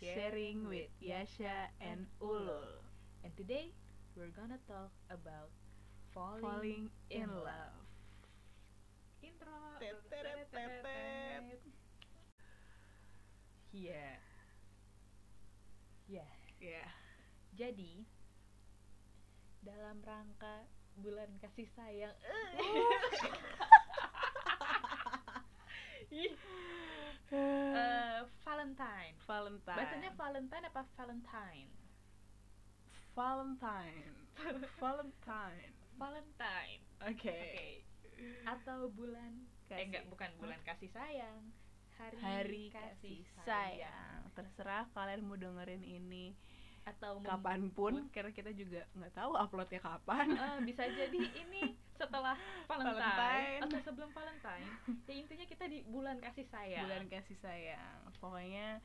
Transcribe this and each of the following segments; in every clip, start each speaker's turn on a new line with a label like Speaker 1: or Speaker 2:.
Speaker 1: Sharing with
Speaker 2: ya.
Speaker 1: Yasha and Ulul
Speaker 2: And today, we're gonna talk about falling,
Speaker 1: Falling in
Speaker 2: in
Speaker 1: Love
Speaker 2: love. Intro.
Speaker 1: Tetetetetet.
Speaker 2: Yeah. Yeah.
Speaker 1: Ya,
Speaker 2: Jadi dalam rangka bulan kasih sayang. Eh. Ih. Eh, Valentine.
Speaker 1: Valentine
Speaker 2: Bacanya Valentine apa Valentine?
Speaker 1: Valentine Valentine
Speaker 2: Valentine.
Speaker 1: Oke Eh,
Speaker 2: Oke. Atau bulan eh enggak bukan bulan kasih sayang. Hari,
Speaker 1: Hari kasih sayang Terserah kalian mau dengerin ini
Speaker 2: Atau mem-
Speaker 1: kapanpun Karena kita juga nggak tahu uploadnya kapan
Speaker 2: Eh, bisa jadi ini setelah Valentine,
Speaker 1: Valentine.
Speaker 2: atau sebelum Valentine. Ya intinya kita di bulan kasih sayang.
Speaker 1: Bulan kasih sayang Pokoknya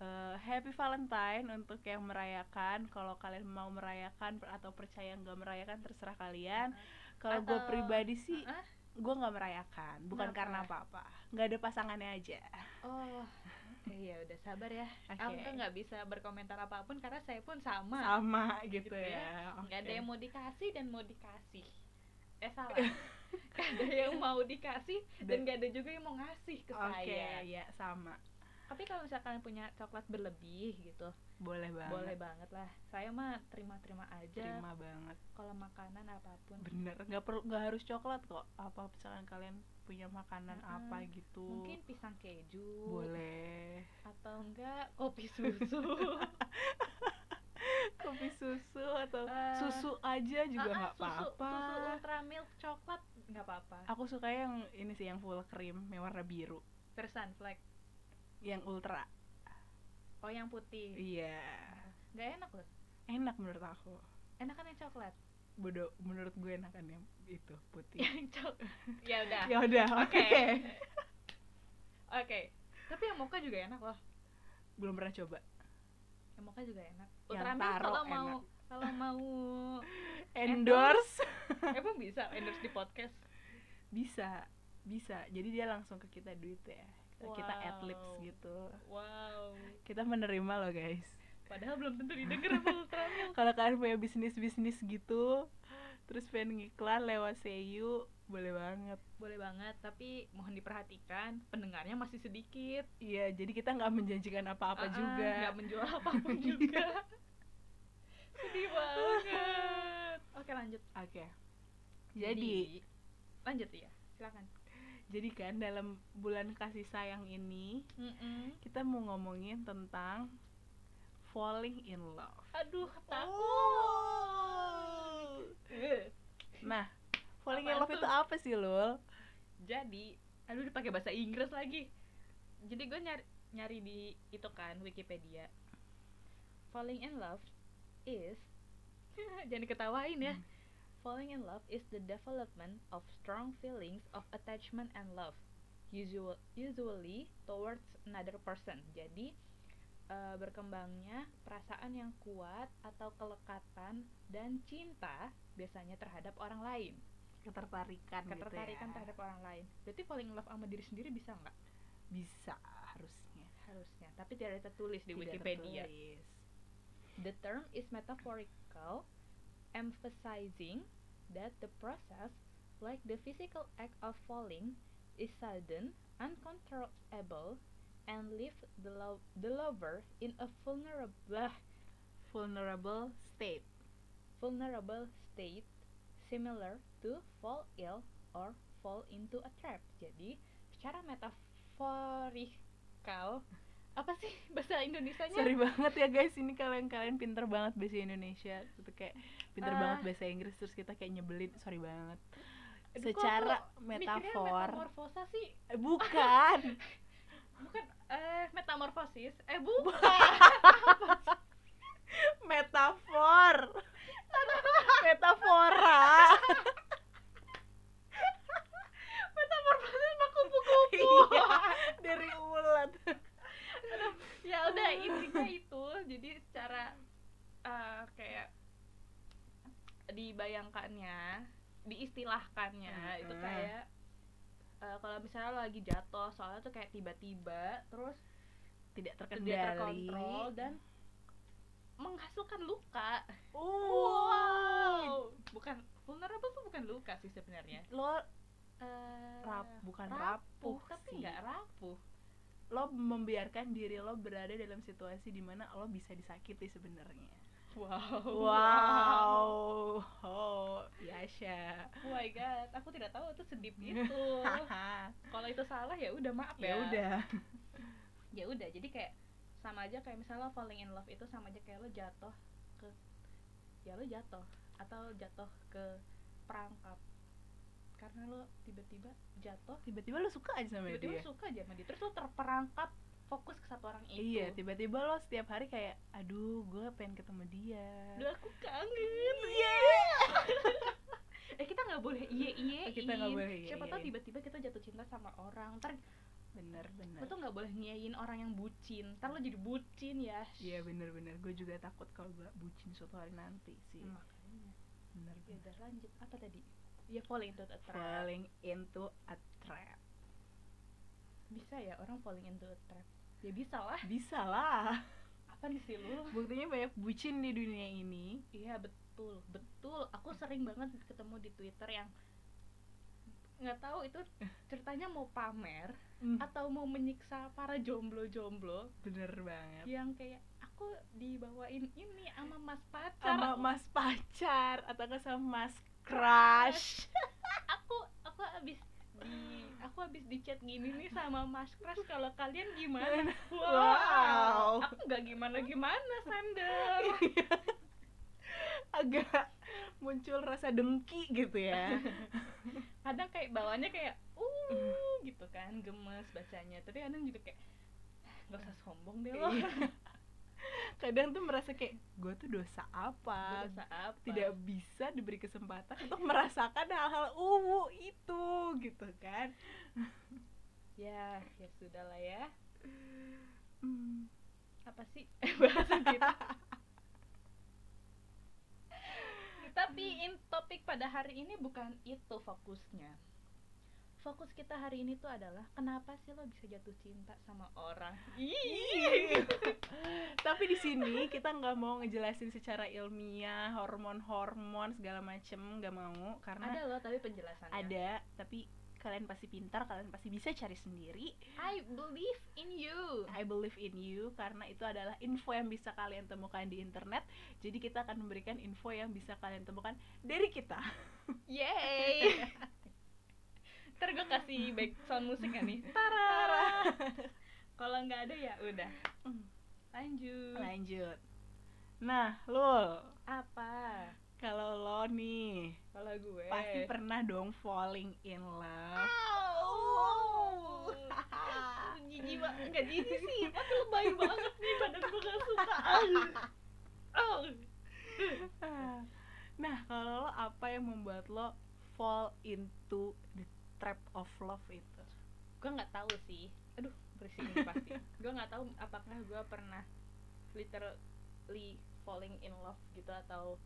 Speaker 1: eh, Happy Valentine untuk yang merayakan Kalau kalian mau merayakan per- atau percaya nggak merayakan terserah kalian Kalau gue
Speaker 2: Atau-
Speaker 1: pribadi sih
Speaker 2: Heeh.
Speaker 1: gue nggak merayakan bukan
Speaker 2: Kenapa?
Speaker 1: karena apa-apa nggak ada pasangannya aja
Speaker 2: Oh, iya udah sabar ya.
Speaker 1: Oke.
Speaker 2: Aku nggak bisa berkomentar apapun karena saya pun sama.
Speaker 1: sama gitu,
Speaker 2: Gitu
Speaker 1: ya,
Speaker 2: ya.
Speaker 1: Oke.
Speaker 2: Nggak ada yang mau dikasih dan mau dikasih. Eh salah. Nggak ada yang mau dikasih dan
Speaker 1: Dan-
Speaker 2: nggak ada juga yang mau ngasih ke
Speaker 1: oke
Speaker 2: saya.
Speaker 1: ya sama
Speaker 2: Tapi kalau misalkan punya coklat berlebih gitu,
Speaker 1: boleh banget
Speaker 2: boleh banget lah. Saya mah terima-terima aja.
Speaker 1: terima banget
Speaker 2: Kalau makanan apapun.
Speaker 1: bener nggak perlu nggak harus coklat kok apa misalkan kalian punya makanan
Speaker 2: Mm-mm.
Speaker 1: apa gitu
Speaker 2: Mungkin pisang keju.
Speaker 1: boleh
Speaker 2: atau enggak kopi susu
Speaker 1: kopi susu atau
Speaker 2: Eh,
Speaker 1: susu aja juga
Speaker 2: Ah,
Speaker 1: nggak
Speaker 2: ah,
Speaker 1: apa-apa Ah.
Speaker 2: susu, susu ultra milk coklat nggak apa-apa
Speaker 1: aku suka yang ini sih yang full cream yang warna biru
Speaker 2: terus sunflake
Speaker 1: yang ultra
Speaker 2: oh yang putih
Speaker 1: iya
Speaker 2: nggak enak loh
Speaker 1: enak menurut aku
Speaker 2: enak kan yang coklat
Speaker 1: bodoh menurut gue enakan yang itu putih
Speaker 2: yang coklat ya udah
Speaker 1: Iya. ya udah oke
Speaker 2: Oke. oke tapi yang mocha juga enak loh
Speaker 1: belum pernah coba
Speaker 2: yang mocha juga enak
Speaker 1: Yang
Speaker 2: ultra milk
Speaker 1: taro
Speaker 2: kalau mau
Speaker 1: enak.
Speaker 2: kalau mau
Speaker 1: endorse
Speaker 2: emang bisa endorse di podcast
Speaker 1: bisa bisa jadi dia langsung ke kita duit ya kita, kita
Speaker 2: Wow.
Speaker 1: adlibs gitu
Speaker 2: wow
Speaker 1: kita menerima loh guys
Speaker 2: padahal belum tentu didengar sama ultra milk
Speaker 1: kalau kalian punya bisnis bisnis gitu terus pengen ngiklan lewat seyu boleh banget
Speaker 2: boleh banget tapi mohon diperhatikan pendengarnya masih sedikit
Speaker 1: iya jadi kita nggak menjanjikan apa-apa
Speaker 2: Ah, ah,
Speaker 1: juga
Speaker 2: nggak menjual apapun juga sedih banget oke lanjut
Speaker 1: oke jadi
Speaker 2: lanjut ya silakan
Speaker 1: jadi kan dalam bulan kasih sayang ini kita mau ngomongin tentang falling in love.
Speaker 2: aduh takut Eh,
Speaker 1: Nah, falling in
Speaker 2: Apaan
Speaker 1: love
Speaker 2: tuh?
Speaker 1: itu apa sih, Lul?
Speaker 2: jadi aduh dipakai bahasa Inggris lagi jadi gue nyari nyari di itu kan Wikipedia falling in love is jangan diketawain ya Falling in love is the development of strong feelings of attachment and love, usual, usually towards another person. Jadi eh, berkembangnya perasaan yang kuat atau kelekatan dan cinta biasanya terhadap orang lain,
Speaker 1: Ketertarikan, gitu
Speaker 2: ketertarikan
Speaker 1: ya.
Speaker 2: terhadap orang lain. Berarti falling in love sama diri sendiri bisa nggak?
Speaker 1: bisa harusnya.
Speaker 2: Harusnya, tapi tidak tertulis di
Speaker 1: Tidak
Speaker 2: Wikipedia.
Speaker 1: tertulis.
Speaker 2: The term is metaphorical, emphasizing that the process, like the physical act of falling, is sudden, uncontrollable, and leaves the, lo- the lover in a vulnerable,
Speaker 1: Vulnerable state.
Speaker 2: vulnerable state similar to fall ill or fall into a trap. Jadi, secara metaforikal apa sih bahasa Indonesianya?
Speaker 1: Sorry banget ya guys, ini kalian kalian pinter banget bahasa Indonesia, itu kayak pinter
Speaker 2: Ah.
Speaker 1: banget bahasa Inggris terus kita kayak nyebelin. Sorry banget.
Speaker 2: Aduh, kok
Speaker 1: Secara
Speaker 2: aku mikirnya
Speaker 1: metafor,
Speaker 2: metamorfosa sih
Speaker 1: Eh, bukan.
Speaker 2: bukan eh metamorfosis eh bukan
Speaker 1: metafor metafora
Speaker 2: metamorfosis mah kupu-kupu
Speaker 1: Iya, dari ulat
Speaker 2: ya udah intinya itu jadi secara eh, kayak dibayangkannya diistilahkannya itu
Speaker 1: Mm-mm.
Speaker 2: kayak eh, kalau misalnya lo lagi jatuh soalnya tuh kayak tiba-tiba terus
Speaker 1: tidak terkendali.
Speaker 2: tidak terkontrol dan menghasilkan luka.
Speaker 1: Uh. Wow.
Speaker 2: Bukan vulnerable tuh bukan luka sih sebenarnya.
Speaker 1: Lo
Speaker 2: Eh,
Speaker 1: rap bukan rapuh,
Speaker 2: rapuh, tapi
Speaker 1: sih.
Speaker 2: nggak rapuh.
Speaker 1: Lo membiarkan diri lo berada dalam situasi di mana lo bisa disakiti sebenarnya.
Speaker 2: Wow.
Speaker 1: Wow. Oh, Yasha.
Speaker 2: Oh my god, aku tidak tahu itu sedip itu.
Speaker 1: Haha.
Speaker 2: Kalau itu salah ya udah maaf ya.
Speaker 1: ya udah.
Speaker 2: Ya udah, jadi kayak sama aja kayak misalnya lo falling in love itu sama aja kayak lo jatuh ke ya lo jatuh atau jatuh ke perangkap karena lo tiba-tiba jatuh
Speaker 1: Tiba-tiba lo suka aja sama
Speaker 2: tiba-tiba
Speaker 1: dia.
Speaker 2: suka gitu. aja sama dia terus lo terperangkap fokus ke satu orang itu
Speaker 1: Iya, tiba-tiba lo setiap hari kayak, aduh, gue pengen ketemu dia. Iya.
Speaker 2: Duh, aku kangen eh kita nggak boleh iye iye
Speaker 1: Oh, Kita nggak boleh
Speaker 2: siapa tahu
Speaker 1: iye-iyein.
Speaker 2: tiba-tiba kita jatuh cinta sama orang ntar
Speaker 1: Bener, bener.
Speaker 2: lo tuh nggak boleh ngiyain orang yang bucin ntar lo jadi bucin ya
Speaker 1: Iya bener-bener, gue juga takut kalau gue bucin suatu hari nanti sih
Speaker 2: Hmm, makanya
Speaker 1: Bener
Speaker 2: ya
Speaker 1: bener
Speaker 2: udah lanjut apa tadi ya falling into a trap
Speaker 1: Falling into a trap
Speaker 2: bisa ya orang falling into a trap ya bisa lah
Speaker 1: Bisa lah
Speaker 2: apa nih sih lu
Speaker 1: Buktinya banyak bucin di dunia ini
Speaker 2: Iya betul, betul. Aku sering banget ketemu di Twitter yang nggak tahu itu ceritanya mau pamer
Speaker 1: Mm,
Speaker 2: atau mau menyiksa para jomblo-jomblo
Speaker 1: Bener banget
Speaker 2: yang kayak aku dibawain ini sama mas pacar.
Speaker 1: Sama mas pacar atau nggak sama mas crush
Speaker 2: Aku aku abis di aku abis di chat gini nih sama mas crush kalau kalian gimana? Wow.
Speaker 1: Wow.
Speaker 2: Aku nggak gimana gimana Sander.
Speaker 1: Agak muncul rasa dengki gitu ya
Speaker 2: kadang kayak bawaannya kayak uh gitu kan gemes bacanya tapi kadang juga kayak "Ah, nggak usah sombong deh lo
Speaker 1: Iya. Kadang tuh merasa kayak, gue tuh dosa apa
Speaker 2: Dosa apa
Speaker 1: tidak bisa diberi kesempatan untuk merasakan hal-hal uwu itu gitu kan
Speaker 2: ya ya sudah lah ya
Speaker 1: Hmm.
Speaker 2: apa sih Eh, bahasa kita tapi in topik pada hari ini bukan itu fokusnya fokus kita hari ini tuh adalah kenapa sih lo bisa jatuh cinta sama orang
Speaker 1: Ih. Iya gitu. Tapi di sini kita nggak mau ngejelasin secara ilmiah hormon-hormon segala macem nggak mau karena ada,
Speaker 2: ada lo tapi penjelasannya
Speaker 1: tapi kalian pasti pintar kalian pasti bisa cari sendiri
Speaker 2: I believe in you
Speaker 1: I believe in you karena itu adalah info yang bisa kalian temukan di internet jadi kita akan memberikan info yang bisa kalian temukan dari kita
Speaker 2: Yeay. Ntar gue kasih background musik gak nih? Tara. Kalau nggak ada ya udah. Lanjut.
Speaker 1: lanjut nah lo
Speaker 2: Apa?
Speaker 1: kalau lo nih
Speaker 2: Kalau gue.
Speaker 1: pasti pernah dong falling in love
Speaker 2: Oh. Jijik banget. Enggak jijik sih. Tapi lebay banget nih badan gue gak suka. Oh.
Speaker 1: Nah, kalau lo apa yang membuat lo fall into the trap of love itu?
Speaker 2: Gue nggak tahu sih. Aduh, berisik nih pasti. Gue nggak tahu apakah gue pernah literally falling in love gitu atau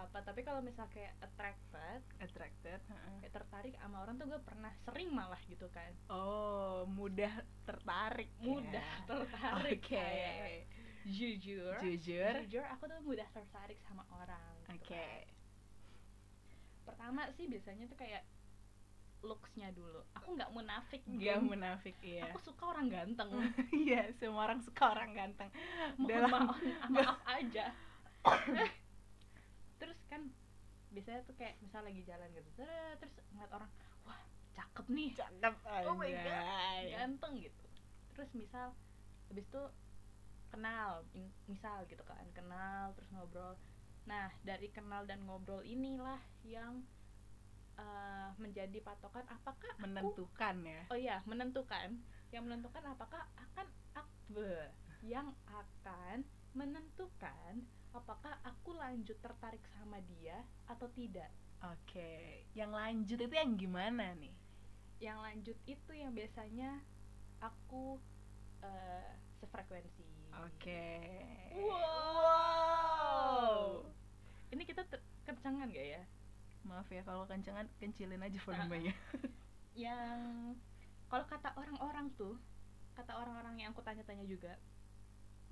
Speaker 2: apa tapi kalau misal kayak attracted
Speaker 1: Attracted.
Speaker 2: kayak tertarik sama orang tuh gue pernah sering malah gitu kan
Speaker 1: Oh, mudah tertarik. ya.
Speaker 2: mudah tertarik
Speaker 1: Oke.
Speaker 2: kayak. jujur
Speaker 1: Jujur.
Speaker 2: jujur aku tuh mudah tertarik sama orang
Speaker 1: Oke.
Speaker 2: gitu kan. pertama sih biasanya tuh kayak looksnya dulu aku nggak munafik
Speaker 1: Gak
Speaker 2: Bun.
Speaker 1: munafik ya.
Speaker 2: Gitu kan. aku suka orang ganteng
Speaker 1: Iya, semua orang suka orang ganteng.
Speaker 2: mohon
Speaker 1: Dalam-
Speaker 2: maaf maaf aja terus kan biasanya tuh kayak misal lagi jalan gitu teret, terus ngeliat orang wah cakep nih
Speaker 1: Cakep
Speaker 2: Oh my God.
Speaker 1: anjay.
Speaker 2: ganteng gitu terus misal habis itu kenal in- misal gitu kan kenal terus ngobrol nah dari kenal dan ngobrol inilah yang eh, menjadi patokan apakah aku-
Speaker 1: Menentukan ya.
Speaker 2: oh iya menentukan yang menentukan apakah akan akbe yang akan menentukan apakah aku lanjut tertarik sama dia atau tidak
Speaker 1: Oke. Yang lanjut itu yang gimana nih?
Speaker 2: yang lanjut itu yang biasanya aku eh, sefrekuensi.
Speaker 1: Oke.
Speaker 2: Wow. Oh. Ini kita ter- kencengan gak ya?
Speaker 1: Maaf ya kalau kencengan
Speaker 2: Nah.
Speaker 1: kencilin aja volumenya.
Speaker 2: Yang kalau kata orang-orang tuh kata orang-orang yang aku tanya-tanya juga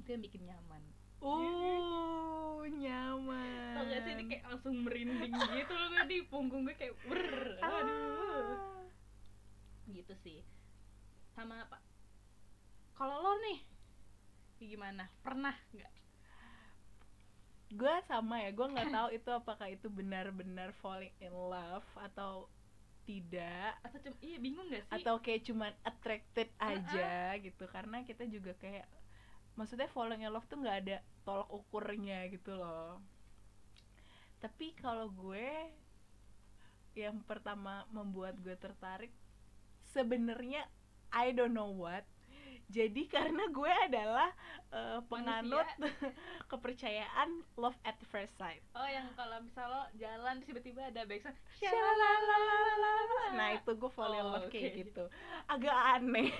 Speaker 2: itu yang bikin nyaman
Speaker 1: Uh, nyaman.
Speaker 2: tau gak sih ini kayak langsung merinding gitu loh gue di punggung gue kayak "Brrr, aduh
Speaker 1: Ah.
Speaker 2: gitu sih sama apa kalau lo nih gimana pernah nggak
Speaker 1: gue sama ya gue nggak tahu itu apakah itu benar-benar falling in love atau tidak
Speaker 2: atau cuma iya bingung nggak sih
Speaker 1: atau kayak cuman attracted aja gitu karena kita juga kayak maksudnya falling in love tuh nggak ada tolok ukurnya gitu loh tapi kalau gue yang pertama membuat gue tertarik sebenarnya I don't know what jadi karena gue adalah eh, penganut kepercayaan love at first sight
Speaker 2: oh yang kalau misal lo jalan terus tiba-tiba ada backsound
Speaker 1: Shalalalalala. Nah itu gue fall in
Speaker 2: Oh,
Speaker 1: love kayak
Speaker 2: oke.
Speaker 1: gitu Agak aneh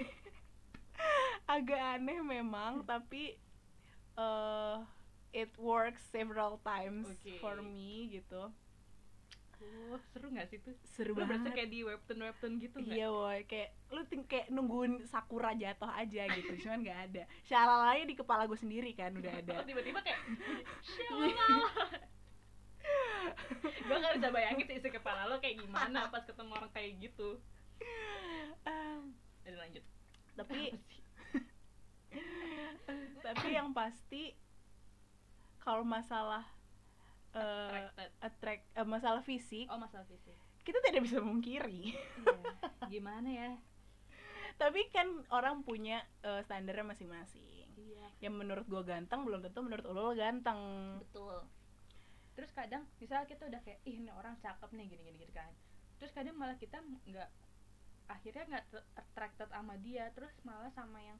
Speaker 1: Agak aneh memang Tapi eh It works several times
Speaker 2: Oke.
Speaker 1: For me gitu
Speaker 2: uh, seru nggak sih tuh
Speaker 1: Seru
Speaker 2: lo berasa
Speaker 1: banget
Speaker 2: kayak di webtoon webtoon gitu nggak
Speaker 1: Iya woy Kayak lu ting- kayak nungguin sakura jatuh aja gitu Cuman gak ada Syalalanya di kepala gue sendiri kan udah ada Iya.
Speaker 2: Oh, tiba-tiba kayak shalala gue gak bisa bayangin sih isi kepala lo kayak gimana pas ketemu orang kayak gitu
Speaker 1: Ah,
Speaker 2: dan lanjut
Speaker 1: Tapi eh,
Speaker 2: Apa sih?
Speaker 1: Tapi yang pasti Kalau masalah eh
Speaker 2: Attracted.
Speaker 1: attract eh, masalah fisik
Speaker 2: oh masalah fisik
Speaker 1: kita tidak bisa memungkiri
Speaker 2: Iya. gimana ya
Speaker 1: tapi kan orang punya eh, standarnya masing-masing
Speaker 2: iya
Speaker 1: yang menurut gua ganteng belum tentu menurut lo, lo ganteng
Speaker 2: betul Hmm. terus kadang misalnya kita udah kayak ih ini orang cakep nih gini gini gitu kan terus kadang malah kita nggak akhirnya nggak ter- attracted sama dia terus malah sama yang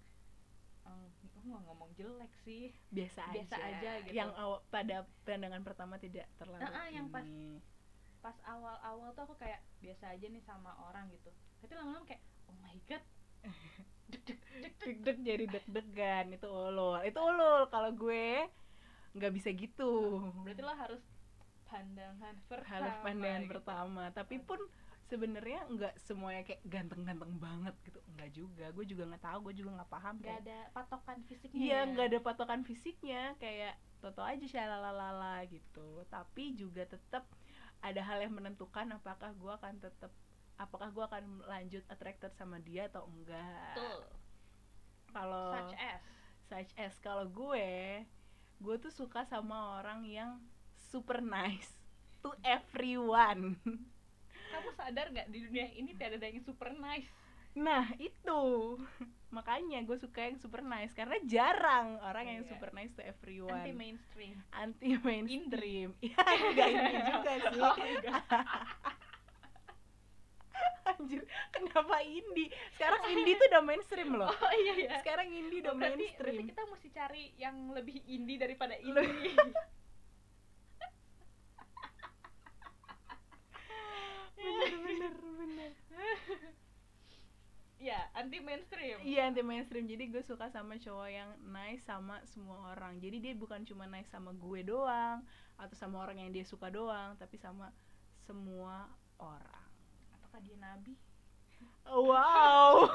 Speaker 2: em, oh, nggak ngomong jelek sih
Speaker 1: biasa aja,
Speaker 2: Biasa aja gitu.
Speaker 1: yang aw- pada pandangan pertama tidak terlalu
Speaker 2: Nah, ah, yang pas-
Speaker 1: ini.
Speaker 2: pas awal-awal tuh aku kayak biasa aja nih sama orang gitu tapi lama-lama kayak oh my god Deg, deg, deg, deg.
Speaker 1: deg-deg jadi deg-degan itu ulul itu ulul kalau gue nggak bisa gitu
Speaker 2: berarti lo harus pandangan pertama
Speaker 1: harus pandangan
Speaker 2: gitu.
Speaker 1: pertama tapi pun sebenarnya nggak semuanya kayak ganteng-ganteng banget gitu nggak juga gue juga nggak tahu gue juga nggak paham
Speaker 2: nggak
Speaker 1: kayak
Speaker 2: ada patokan fisiknya
Speaker 1: Iya,
Speaker 2: ya.
Speaker 1: nggak ada patokan fisiknya, kayak toto aja shalalala gitu. Tapi juga tetap ada hal yang menentukan apakah gua akan tetap apakah gua akan lanjut attracted sama dia atau enggak.
Speaker 2: betul
Speaker 1: Kalau
Speaker 2: such as
Speaker 1: such as kalau gue, gue tuh suka sama orang yang super nice to everyone.
Speaker 2: kamu sadar nggak di dunia ini tidak ada yang super nice
Speaker 1: Nah, itu. Makanya gue suka yang super nice karena jarang orang yang
Speaker 2: Iya.
Speaker 1: super nice to everyone.
Speaker 2: anti mainstream
Speaker 1: anti mainstream ya enggak ini juga sih
Speaker 2: Oh, enggak.
Speaker 1: anjir kenapa indie sekarang indie tuh udah mainstream loh
Speaker 2: oh iya ya
Speaker 1: sekarang indie udah
Speaker 2: berarti, berarti
Speaker 1: mainstream
Speaker 2: kita mesti cari yang lebih indie daripada
Speaker 1: Loh.
Speaker 2: indie
Speaker 1: bener bener bener
Speaker 2: ya anti mainstream
Speaker 1: iya anti mainstream jadi gue suka sama cowok yang nice sama semua orang jadi dia bukan cuma nice sama gue doang atau sama orang yang dia suka doang tapi sama semua orang
Speaker 2: apakah dia nabi
Speaker 1: wow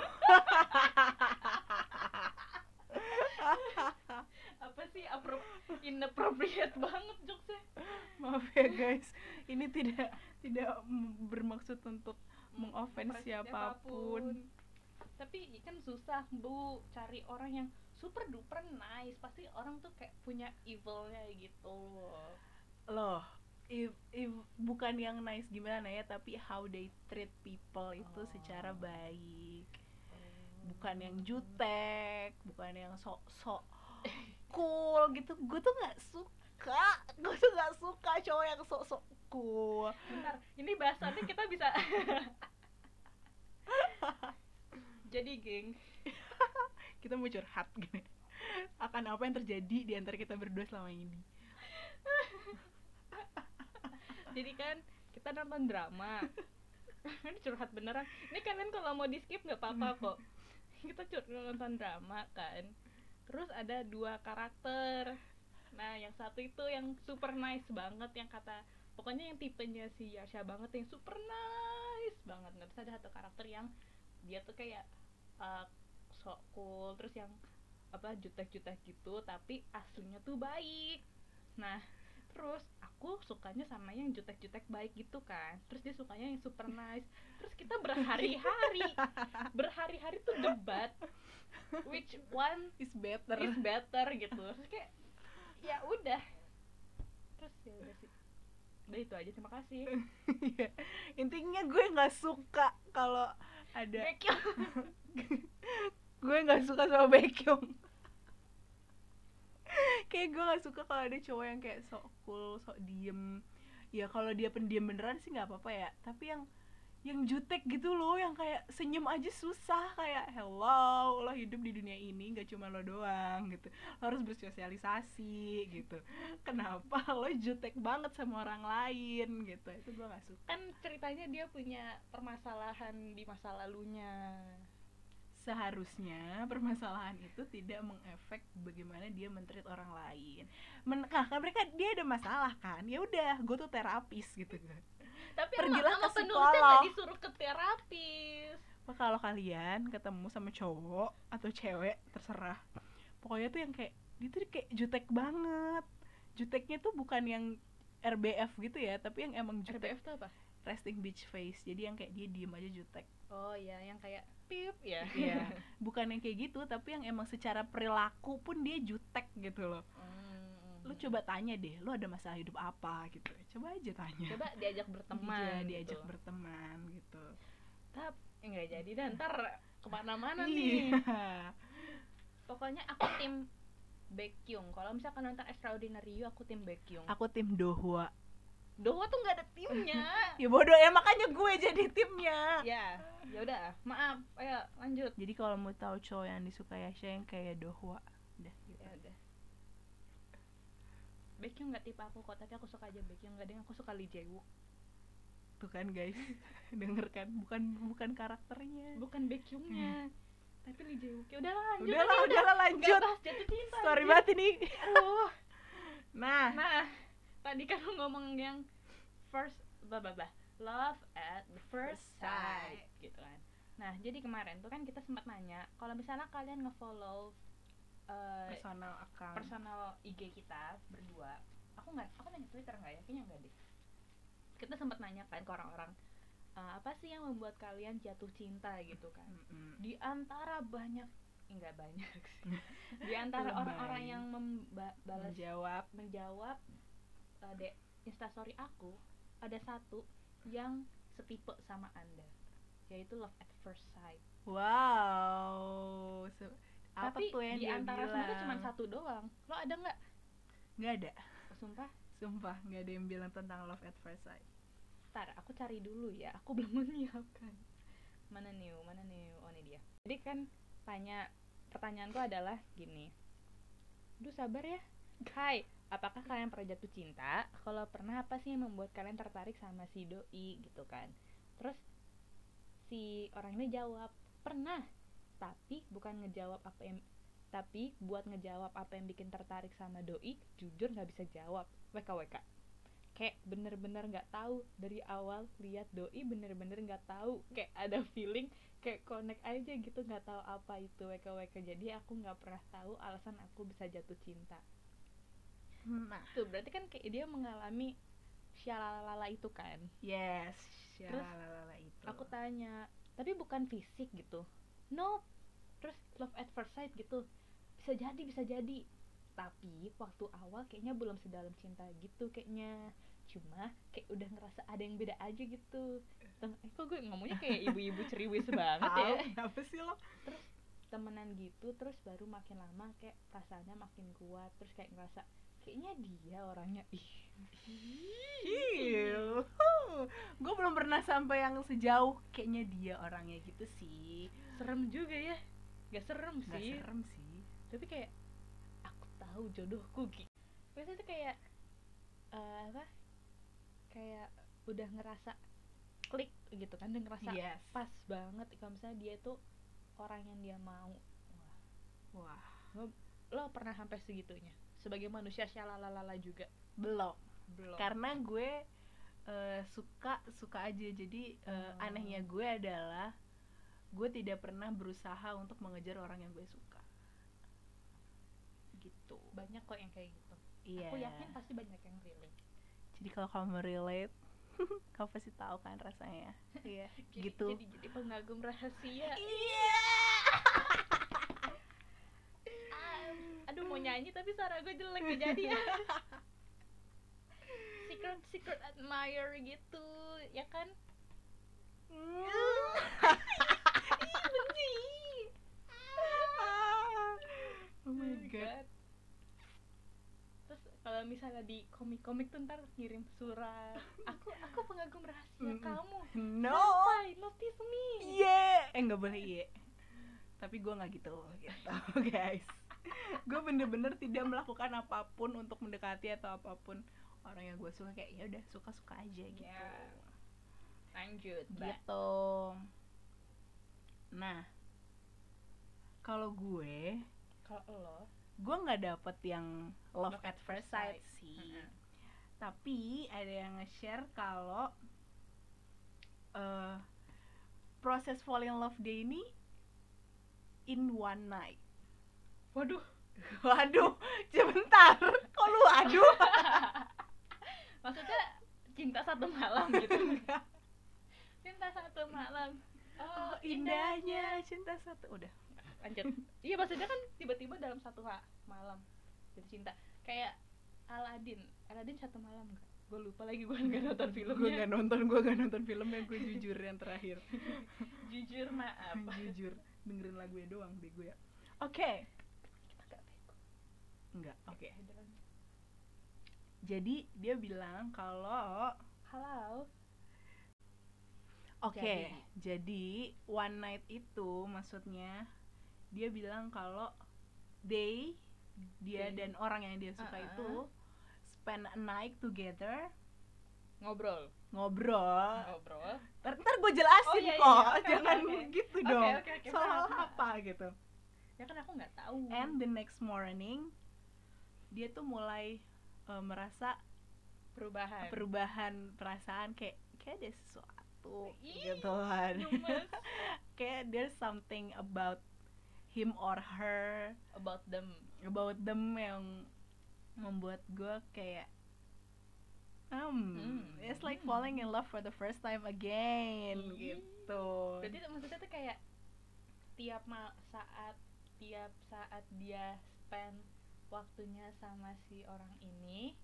Speaker 2: apa sih appro- inappropriate banget jokesnya
Speaker 1: maaf ya guys ini tidak tidak m- bermaksud untuk mengoffend
Speaker 2: Pres-
Speaker 1: siapapun
Speaker 2: tapi kan susah bu cari orang yang super duper nice pasti orang tuh kayak punya evilnya gitu
Speaker 1: loh if, if- bukan yang nice gimana ya tapi how they treat people itu
Speaker 2: Oh.
Speaker 1: secara baik bukan yang jutek bukan yang sok-sok cool gitu gue tuh nggak suka gue tuh nggak suka cowok yang sok-sok cool
Speaker 2: Bentar, ini bahasannya kita bisa Jadi geng,
Speaker 1: kita mau curhat gini akan apa yang terjadi di antara kita berdua selama ini
Speaker 2: jadi kan kita nonton drama Ini curhat beneran Ini kalian kalau mau di skip nggak apa-apa kok Kita curhat nonton drama kan Terus ada dua karakter Nah yang satu itu yang super nice banget Yang kata, pokoknya yang tipenya si Yarsha banget Yang super nice banget Nah, Terus ada satu karakter yang dia tuh kayak eh, sok cool terus yang apa jutek-jutek gitu tapi aslinya tuh baik nah terus aku sukanya sama yang jutek-jutek baik gitu kan terus dia sukanya yang super nice terus kita berhari-hari berhari-hari tuh debat which one
Speaker 1: is better
Speaker 2: is better gitu terus kayak ya udah terus ya udah sih udah itu aja terima kasih
Speaker 1: Iya. intinya gue nggak suka kalau ada
Speaker 2: Thank you.
Speaker 1: gue nggak suka sama Baekhyun kayak gue nggak suka kalau ada cowok yang kayak sok cool sok diem ya kalau dia pendiam beneran sih nggak apa-apa ya tapi yang yang jutek gitu loh yang kayak senyum aja susah kayak hello lo hidup di dunia ini nggak cuma lo doang gitu lo harus bersosialisasi gitu kenapa lo jutek banget sama orang lain gitu itu gue nggak suka
Speaker 2: kan ceritanya dia punya permasalahan di masa lalunya
Speaker 1: seharusnya permasalahan itu tidak mengefek bagaimana dia mentreat orang lain. Men nah, kan mereka dia ada masalah kan. Ya udah, gue tuh terapis gitu kan.
Speaker 2: tapi
Speaker 1: Pergilah ke Eh,
Speaker 2: sama, sama penulisnya nggak
Speaker 1: psikolog.
Speaker 2: disuruh ke terapis
Speaker 1: Maka kalau kalian ketemu sama cowok atau cewek terserah. Pokoknya tuh yang kayak dia tuh kayak jutek banget. Juteknya tuh bukan yang RBF gitu ya, tapi yang emang jutek
Speaker 2: RBF tuh apa
Speaker 1: resting bitch face. Jadi yang kayak dia diem aja jutek.
Speaker 2: oh ya yang kayak pip ya
Speaker 1: Iya. bukan yang kayak gitu, tapi yang emang secara perilaku pun dia jutek gitu loh.
Speaker 2: Hmm.
Speaker 1: lu coba tanya deh lu ada masalah hidup apa gitu coba aja tanya
Speaker 2: coba diajak berteman
Speaker 1: Iya, diajak
Speaker 2: gitu.
Speaker 1: berteman gitu
Speaker 2: tapi nggak jadi dan ntar kemana-mana nih
Speaker 1: iya
Speaker 2: pokoknya aku tim Baekhyun kalau misalkan nonton Extraordinary You aku tim Baekhyun
Speaker 1: aku tim Dohwa
Speaker 2: Doho tuh nggak ada timnya
Speaker 1: ya bodoh ya makanya gue jadi timnya
Speaker 2: ya ya udah maaf ayo lanjut
Speaker 1: jadi kalau mau tahu cowok yang disukai Aisyah yang kayak Dohwa udah gitu
Speaker 2: ya udah Baekhyun nggak tipe aku kok tapi aku suka aja Baekhyun kadang aku suka Lee Jae-wook
Speaker 1: tuh kan guys dengarkan bukan bukan karakternya
Speaker 2: bukan Baekhyunnya tapi Lee Jae-wook ya udahlah lanjut
Speaker 1: Hmm. udahlah
Speaker 2: aja,
Speaker 1: udahlah
Speaker 2: Nggak
Speaker 1: lanjut
Speaker 2: bahas jatuh cinta
Speaker 1: sorry
Speaker 2: lanjut.
Speaker 1: banget ini
Speaker 2: Aduh.
Speaker 1: nah
Speaker 2: Nah, tadi kan lu ngomong yang first blah blah blah. Love at the first sight gitu kan. Nah, jadi kemarin tuh kan kita sempat nanya kalau misalnya kalian ngefollow uh,
Speaker 1: personal account
Speaker 2: personal IG kita berdua. Aku nggak aku nanya Twitter nggak ya? Kayaknya nggak deh. Kita sempat nanya kan ke orang-orang uh, apa sih yang membuat kalian jatuh cinta gitu kan
Speaker 1: Mm-mm.
Speaker 2: di antara banyak enggak banyak sih di antara
Speaker 1: Lebay.
Speaker 2: orang-orang yang membalas
Speaker 1: menjawab
Speaker 2: menjawab uh, de instastory aku ada satu yang setipe sama anda yaitu love at first sight
Speaker 1: Wow. Se- apa
Speaker 2: tapi
Speaker 1: tuh yang
Speaker 2: di
Speaker 1: dia
Speaker 2: antara
Speaker 1: bilang?
Speaker 2: semua tuh cuma satu doang lo ada nggak
Speaker 1: Nggak ada.
Speaker 2: sumpah
Speaker 1: Oh, Sumpah, nggak ada yang bilang tentang love at first sight.
Speaker 2: tar aku cari dulu ya aku belum menyiapkan mana new mana new oh ini dia jadi kan tanya pertanyaanku adalah gini duh sabar ya hai apakah kalian pernah jatuh cinta kalau pernah apa sih yang membuat kalian tertarik sama si doi gitu kan terus si orang ini jawab pernah tapi bukan ngejawab apa yang tapi buat ngejawab apa yang bikin tertarik sama doi jujur nggak bisa jawab wkwk kayak bener-bener nggak tahu dari awal lihat doi bener-bener nggak tahu kayak ada feeling kayak connect aja gitu nggak tahu apa itu wkwk jadi aku nggak pernah tahu alasan aku bisa jatuh cinta
Speaker 1: Nah,
Speaker 2: tuh berarti kan kayak dia mengalami syalalala itu kan
Speaker 1: yes.
Speaker 2: Terus,
Speaker 1: Shalalala itu.
Speaker 2: aku tanya tapi bukan fisik gitu no terus love at first sight gitu bisa jadi bisa jadi tapi waktu awal kayaknya belum sedalam cinta gitu kayaknya cuma kayak udah ngerasa ada yang beda aja gitu Tem- eh, kok gue ngomongnya kayak ibu-ibu ceriwis banget
Speaker 1: Tahu,
Speaker 2: ya
Speaker 1: Kenapa sih lo?
Speaker 2: temenan gitu terus baru makin lama kayak perasaannya makin kuat terus kayak ngerasa kayaknya dia orangnya ih
Speaker 1: Gue belum pernah sampai yang sejauh kayaknya dia orangnya gitu sih.
Speaker 2: serem juga ya gak serem
Speaker 1: Nggak
Speaker 2: sih
Speaker 1: serem sih.
Speaker 2: tapi kayak aku tahu jodohku gitu biasanya tuh kayak eh, apa kayak udah ngerasa klik gitu kan udah ngerasa
Speaker 1: Yes.
Speaker 2: pas banget kalau misalnya dia tuh orang yang dia mau Wah,
Speaker 1: Wah,
Speaker 2: lo pernah sampai segitunya sebagai manusia syalalala juga
Speaker 1: belum.
Speaker 2: belum
Speaker 1: Karena gue eh, suka suka aja. Jadi eh,
Speaker 2: Hmm.
Speaker 1: anehnya gue adalah gue tidak pernah berusaha untuk mengejar orang yang gue suka gitu
Speaker 2: banyak kok yang kayak gitu
Speaker 1: iya
Speaker 2: aku yakin pasti banyak yang relate
Speaker 1: jadi kalau kamu relate kamu pasti tahu kan rasanya iya
Speaker 2: jadi,
Speaker 1: gitu
Speaker 2: jadi jadi pengagum rahasia
Speaker 1: iya
Speaker 2: Ah, aduh mau nyanyi tapi suara gue jelek gak jadi ya secret secret admirer gitu ya kan Iya. Ih, benci Ah.
Speaker 1: oh my god
Speaker 2: Hmm, terus kalau misalnya di komik-komik tuh ntar ngirim surat aku aku pengagum rahasia
Speaker 1: Mm-mm.
Speaker 2: kamu
Speaker 1: no
Speaker 2: Why notice me
Speaker 1: Iya, eh nggak boleh iya. Tapi gue nggak gitu, gitu guys. gue bener-bener tidak melakukan apapun untuk mendekati atau apapun orang yang gue suka kayak ya udah suka-suka aja gitu.
Speaker 2: Ya, lanjut Mbak.
Speaker 1: Gitu. Nah, kalau gue,
Speaker 2: kalau lo
Speaker 1: gue nggak dapet yang love
Speaker 2: Love
Speaker 1: at first
Speaker 2: sight.
Speaker 1: sight sih.
Speaker 2: Mm-mm.
Speaker 1: Tapi ada yang nge-share kalau eh proses fall in love day ini in one night.
Speaker 2: waduh
Speaker 1: Waduh, sebentar. Kok lu waduh?
Speaker 2: maksudnya cinta satu malam gitu cinta satu malam
Speaker 1: Oh, indahnya cinta satu. Udah.
Speaker 2: lanjut iya maksudnya kan tiba-tiba dalam satu ha- malam jadi cinta kayak Aladin Aladin satu malam gak? gue lupa lagi gue nggak nonton filmnya
Speaker 1: Gue gak nonton, gue gak nonton filmnya, gue jujur yang terakhir.
Speaker 2: jujur maaf
Speaker 1: jujur, dengerin lagunya doang deh gue ya. Oke.
Speaker 2: kita gak bego ya,
Speaker 1: Enggak, oke.
Speaker 2: beneran.
Speaker 1: Jadi dia bilang kalau
Speaker 2: halo
Speaker 1: Oke, jadi one night itu maksudnya dia bilang kalau they dia
Speaker 2: They.
Speaker 1: dan orang yang dia suka
Speaker 2: Uh-uh.
Speaker 1: itu spend a night together
Speaker 2: ngobrol
Speaker 1: ngobrol.
Speaker 2: ngobrol
Speaker 1: Ntar, ntar gue jelasin
Speaker 2: Uh-uh. Oh, iya,
Speaker 1: kok,
Speaker 2: iya, oke,
Speaker 1: jangan
Speaker 2: oke, oke.
Speaker 1: gitu
Speaker 2: Oke,
Speaker 1: dong.
Speaker 2: oke, oke,
Speaker 1: Soal
Speaker 2: paham, paham.
Speaker 1: apa gitu.
Speaker 2: ya kan aku nggak tahu
Speaker 1: And the next morning dia tuh mulai eh, merasa
Speaker 2: perubahan
Speaker 1: perubahan perasaan kayak kayak ada sesuatu
Speaker 2: Ih,
Speaker 1: gitu kan.
Speaker 2: Cuman
Speaker 1: kayak there's something about him or her
Speaker 2: about them
Speaker 1: about them yang membuat gue kayak um
Speaker 2: Hmm.
Speaker 1: it's like falling in love for the first time again
Speaker 2: Ih.
Speaker 1: gitu
Speaker 2: Hmm. berarti tuh maksudnya tuh kayak tiap ma- saat tiap saat dia spend waktunya sama si orang ini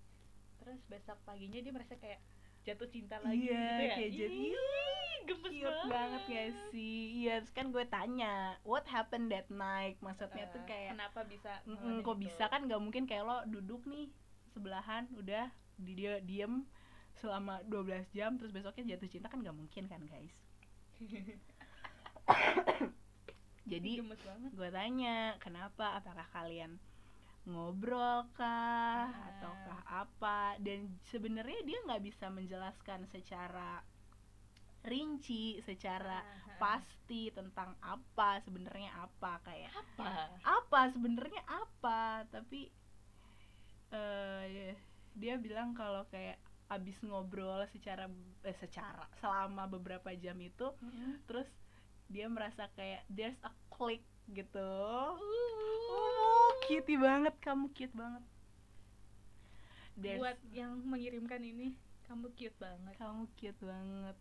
Speaker 2: terus besok paginya dia merasa kayak jatuh cinta lagi
Speaker 1: iya
Speaker 2: gitu ya
Speaker 1: kayak jadi
Speaker 2: Ih, gemes
Speaker 1: cute banget gak sih iya terus kan gue tanya what happened that night maksudnya tuh
Speaker 2: Eh,
Speaker 1: kayak
Speaker 2: kenapa bisa gitu?
Speaker 1: Mm-mm,
Speaker 2: ngalamin
Speaker 1: kok
Speaker 2: itu?
Speaker 1: bisa kan nggak mungkin kayak lo duduk nih sebelahan udah di dia diem selama 12 jam terus besoknya jatuh cinta kan nggak mungkin kan guys jadi
Speaker 2: gemes banget
Speaker 1: gue tanya kenapa apakah kalian ngobrol kah ataukah apa dan sebenarnya dia nggak bisa menjelaskan secara rinci
Speaker 2: Nah,
Speaker 1: secara
Speaker 2: pas
Speaker 1: pasti tentang apa sebenarnya apa kayak
Speaker 2: apa
Speaker 1: apa sebenarnya apa tapi eh dia bilang kalau kayak abis ngobrol secara eh, secara selama beberapa jam itu terus dia merasa kayak there's a click gitu oh, cutie banget kamu cute banget There's-
Speaker 2: buat yang mengirimkan ini kamu cute banget
Speaker 1: kamu cute banget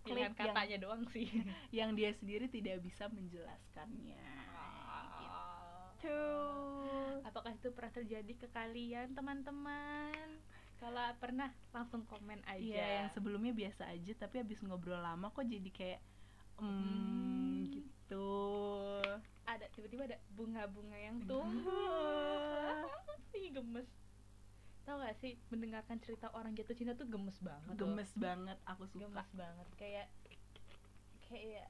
Speaker 2: pilihan
Speaker 1: Klik yang-
Speaker 2: katanya doang sih Gitu.
Speaker 1: yang dia sendiri tidak bisa menjelaskannya gitu
Speaker 2: Apakah itu pernah terjadi ke kalian teman-teman? Kalau pernah langsung komen aja.
Speaker 1: Iya, yang sebelumnya biasa aja, tapi abis ngobrol lama kok jadi kayak
Speaker 2: Hmm.
Speaker 1: hmm, gitu.
Speaker 2: ada tiba-tiba ada bunga-bunga yang tumbuh.
Speaker 1: Bunga.
Speaker 2: Ih, gemes. Tahu gak sih mendengarkan cerita orang jatuh cinta tuh gemes banget. loh.
Speaker 1: Gemes banget aku suka.
Speaker 2: Gemes banget kayak kayak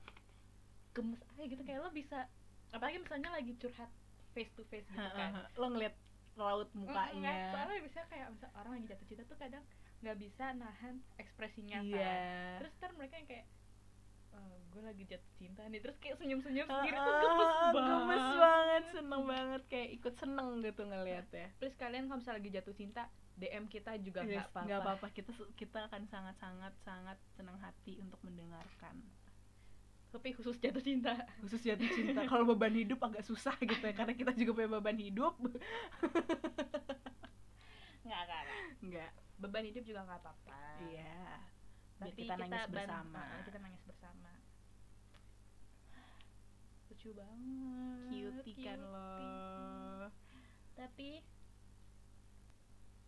Speaker 2: gemes aja gitu kayak lo bisa apalagi misalnya lagi curhat face to face gitu kan.
Speaker 1: Lo ngeliat raut
Speaker 2: Nggak,
Speaker 1: mukanya.
Speaker 2: soalnya bisa kayak misal orang lagi jatuh cinta tuh kadang nggak bisa nahan ekspresinya
Speaker 1: Iya.
Speaker 2: kan terus ntar mereka yang kayak gue lagi jatuh cinta nih terus kayak senyum senyum
Speaker 1: Ah,
Speaker 2: sendiri tuh gemes
Speaker 1: ah,
Speaker 2: banget
Speaker 1: gemes banget, seneng banget kayak ikut seneng gitu ngeliatnya.
Speaker 2: terus kalian kalau misalnya lagi jatuh cinta DM kita juga Iya, nggak
Speaker 1: Yes,
Speaker 2: apa-apa
Speaker 1: nggak apa-apa. Kita su- kita akan sangat sangat sangat senang hati untuk mendengarkan.
Speaker 2: tapi khusus jatuh cinta
Speaker 1: khusus jatuh cinta kalau beban hidup agak susah gitu ya karena kita juga punya beban hidup
Speaker 2: nggak nggak nggak.
Speaker 1: nggak
Speaker 2: beban hidup juga nggak apa-apa
Speaker 1: iya biar
Speaker 2: tapi
Speaker 1: kita nangis
Speaker 2: ban-
Speaker 1: bersama
Speaker 2: ah, kita nangis bersama lucu banget
Speaker 1: cutie kan
Speaker 2: cutie.
Speaker 1: lo
Speaker 2: tapi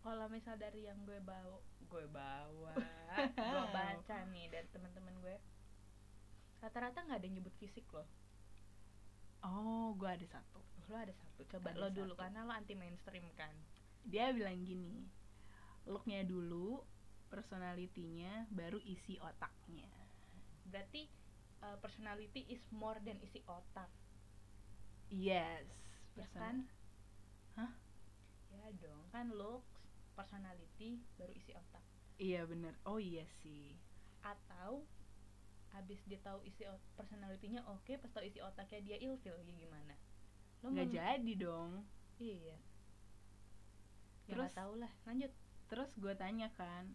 Speaker 2: kalau misal dari yang gue bawa gue bawa gue baca nih dari teman-teman gue rata-rata nggak ada yang nyebut fisik loh
Speaker 1: oh gue ada satu
Speaker 2: lo ada satu coba
Speaker 1: Ada
Speaker 2: lo dulu
Speaker 1: satu.
Speaker 2: karena lo anti mainstream kan
Speaker 1: dia bilang gini looknya dulu personalitinya baru isi otaknya
Speaker 2: berarti uh, personality is more than isi otak
Speaker 1: yes
Speaker 2: ya
Speaker 1: person-
Speaker 2: kan
Speaker 1: Hah?
Speaker 2: ya dong kan looks personality baru isi otak
Speaker 1: iya bener oh iya sih
Speaker 2: atau abis dia tahu isi ot- personalitinya oke pas tahu isi otaknya dia ilfil ya gimana lo
Speaker 1: nggak
Speaker 2: mem-
Speaker 1: jadi dong
Speaker 2: iya ya
Speaker 1: Terus?
Speaker 2: nggak tahu lah lanjut
Speaker 1: terus gue tanya kan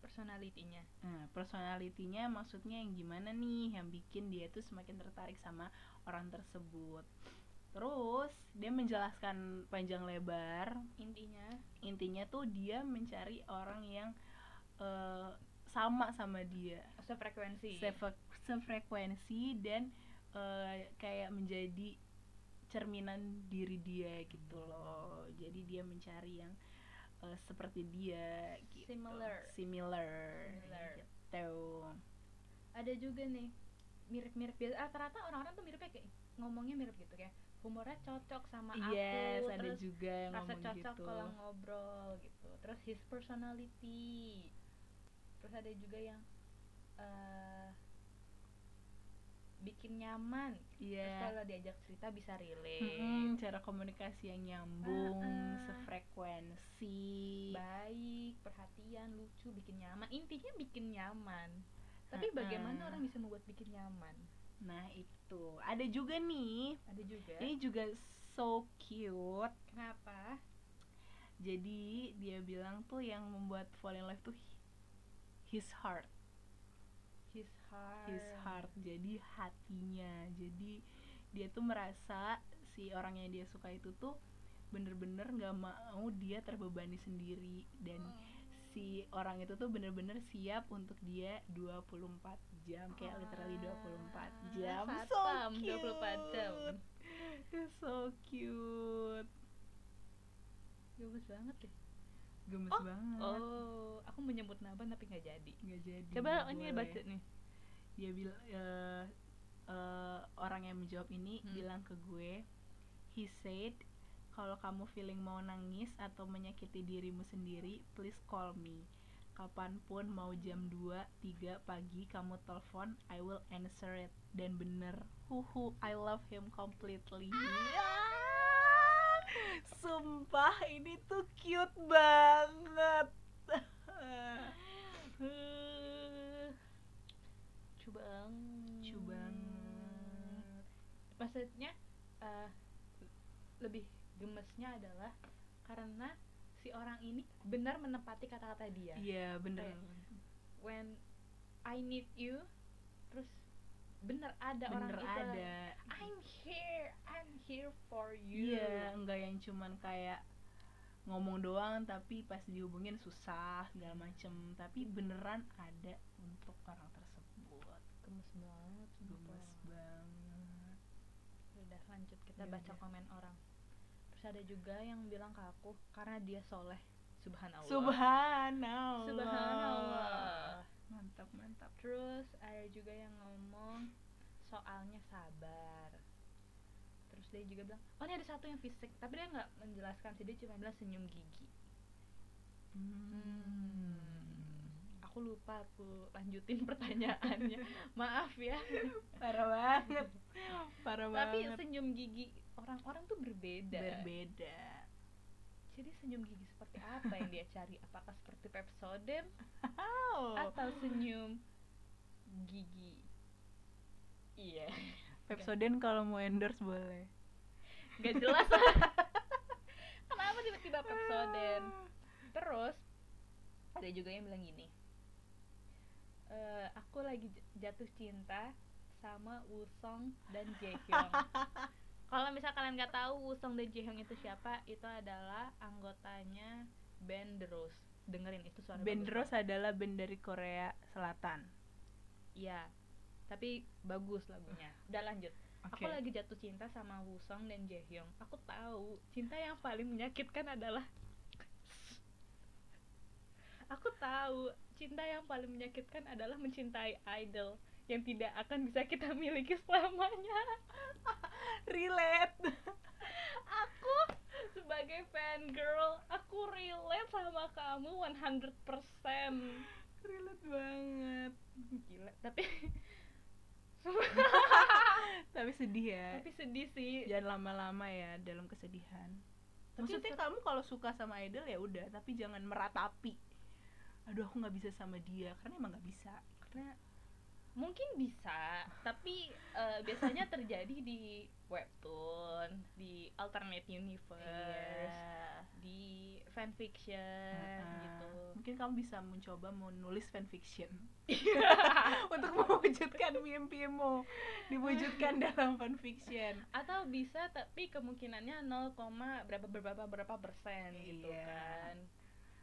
Speaker 2: personalitinya
Speaker 1: Nah, personalitinya maksudnya yang gimana nih yang bikin dia tuh semakin tertarik sama orang tersebut. Terus dia menjelaskan panjang lebar,
Speaker 2: intinya
Speaker 1: intinya tuh dia mencari orang yang eh, sama sama dia,
Speaker 2: sefrekuensi
Speaker 1: Sefre- sefrekuensi dan eh, kayak menjadi cerminan diri dia gitu
Speaker 2: Hmm.
Speaker 1: loh. Jadi dia mencari yang eh, seperti dia gitu.
Speaker 2: Similar.
Speaker 1: Similar.
Speaker 2: Similar.
Speaker 1: Gitu.
Speaker 2: Iya. ada juga nih mirip-mirip biasa ah, ternyata orang-orang tuh miripnya kayak ngomongnya mirip gitu kayak humornya cocok sama
Speaker 1: Yes,
Speaker 2: aku
Speaker 1: ada Iya,
Speaker 2: terus
Speaker 1: juga yang
Speaker 2: rasa
Speaker 1: ngomong
Speaker 2: cocok
Speaker 1: gitu.
Speaker 2: kalau ngobrol gitu terus his personality terus ada juga yang eh bikin nyaman
Speaker 1: Iya.
Speaker 2: terus kalau diajak cerita bisa relate
Speaker 1: Mm-mm, cara komunikasi yang nyambung,
Speaker 2: Ah, ah.
Speaker 1: sefrekuensi.
Speaker 2: baik perhatian lucu bikin nyaman intinya bikin nyaman tapi
Speaker 1: Mm-mm.
Speaker 2: bagaimana orang bisa membuat bikin nyaman
Speaker 1: Nah, itu. Ada juga nih.
Speaker 2: ada juga
Speaker 1: Ini juga so cute.
Speaker 2: kenapa
Speaker 1: Jadi, dia bilang tuh yang membuat fall in love tuh his heart,
Speaker 2: his heart
Speaker 1: his heart. Jadi hatinya. Jadi dia tuh merasa si orang yang dia suka itu tuh bener-bener nggak mau dia terbebani sendiri dan
Speaker 2: Oh.
Speaker 1: si orang itu tuh bener-bener siap untuk dia 24 jam
Speaker 2: Ah,
Speaker 1: kayak literally 24 jam so
Speaker 2: Satam,
Speaker 1: cute
Speaker 2: 24 jam.
Speaker 1: so cute
Speaker 2: gemes banget deh
Speaker 1: gemes banget
Speaker 2: oh aku menyebut nama tapi nggak jadi
Speaker 1: nggak jadi
Speaker 2: coba
Speaker 1: nggak
Speaker 2: ini
Speaker 1: boleh.
Speaker 2: baca nih
Speaker 1: dia bilang eh, eh, orang yang menjawab ini
Speaker 2: Hmm.
Speaker 1: bilang ke gue he said kalau kamu feeling mau nangis atau menyakiti dirimu sendiri please call me kapanpun mau jam 2, 3 pagi kamu telepon I will answer it dan bener huhu I love him completely sumpah ini tuh cute banget
Speaker 2: Cubang.
Speaker 1: Lucu banget.
Speaker 2: Maksudnya eh, lebih gemesnya adalah karena si orang ini benar menepati kata-kata dia.
Speaker 1: iya bener
Speaker 2: ya. Kayak, When I need you, terus benar ada orang gitu,
Speaker 1: bener
Speaker 2: itu.
Speaker 1: ada
Speaker 2: I'm here, I'm here for you.
Speaker 1: iya enggak yang cuman kayak ngomong doang tapi pas dihubungin susah segala macem tapi beneran ada untuk orang tersebut
Speaker 2: Gemes banget. sumpah.
Speaker 1: gemes banget
Speaker 2: Udah lanjut kita
Speaker 1: Iya,
Speaker 2: baca
Speaker 1: iya.
Speaker 2: komen orang. Terus ada juga yang bilang ke aku karena dia soleh. Subhanallah.
Speaker 1: subhanallah
Speaker 2: Subhanallah.
Speaker 1: mantap mantap
Speaker 2: Terus ada juga yang ngomong soalnya sabar. Terus dia juga bilang, oh ini ada satu yang fisik, tapi dia nggak menjelaskan sih dia cuma bilang senyum gigi. Hmm. Aku lupa aku lanjutin pertanyaannya. Maaf ya.
Speaker 1: parah banget parah
Speaker 2: tapi
Speaker 1: banget
Speaker 2: senyum gigi orang-orang tuh berbeda.
Speaker 1: berbeda
Speaker 2: Jadi senyum gigi seperti apa yang dia cari? Apakah seperti Pepsodent
Speaker 1: oh
Speaker 2: atau senyum gigi? Iya.
Speaker 1: Pepsodent kalau mau endorse boleh
Speaker 2: nggak jelas kenapa tiba-tiba Pepsodent terus ada juga yang bilang gini eh, aku lagi j- jatuh cinta sama Wusong dan Jaehyung. Kalau misal kalian nggak tahu Wusong dan Jaehyung itu siapa, itu adalah anggotanya band The Rose. Dengerin itu suara
Speaker 1: Band
Speaker 2: bagus.
Speaker 1: Rose adalah band dari Korea Selatan.
Speaker 2: Iya. Tapi bagus lagunya. Udah lanjut.
Speaker 1: Oke.
Speaker 2: Aku lagi jatuh cinta sama Wusong dan Jaehyung. Aku tahu cinta yang paling menyakitkan adalah Aku tahu cinta yang paling menyakitkan adalah mencintai idol yang tidak akan bisa kita miliki selamanya.
Speaker 1: Relate.
Speaker 2: Aku sebagai fan girl, aku relate sama kamu 100%.
Speaker 1: Relate banget.
Speaker 2: Gila, tapi
Speaker 1: Tapi sedih ya.
Speaker 2: tapi sedih sih.
Speaker 1: Jangan lama-lama ya dalam kesedihan.
Speaker 2: Tapi
Speaker 1: Maksudnya
Speaker 2: ter-
Speaker 1: kamu kalau suka sama idol ya udah, tapi jangan meratapi. Aduh aku nggak bisa sama dia karena emang nggak bisa.
Speaker 2: Karena mungkin bisa, tapi eh, biasanya terjadi di webtoon, di alternate universe, di fanfiction
Speaker 1: Iya. Heeh.
Speaker 2: gitu.
Speaker 1: eh, Mungkin kamu bisa mencoba menulis fanfiction untuk mewujudkan mimpimu, diwujudkan dalam fanfiction.
Speaker 2: Atau bisa tapi kemungkinannya 0, berapa berapa berapa persen gitu
Speaker 1: Iya.
Speaker 2: kan.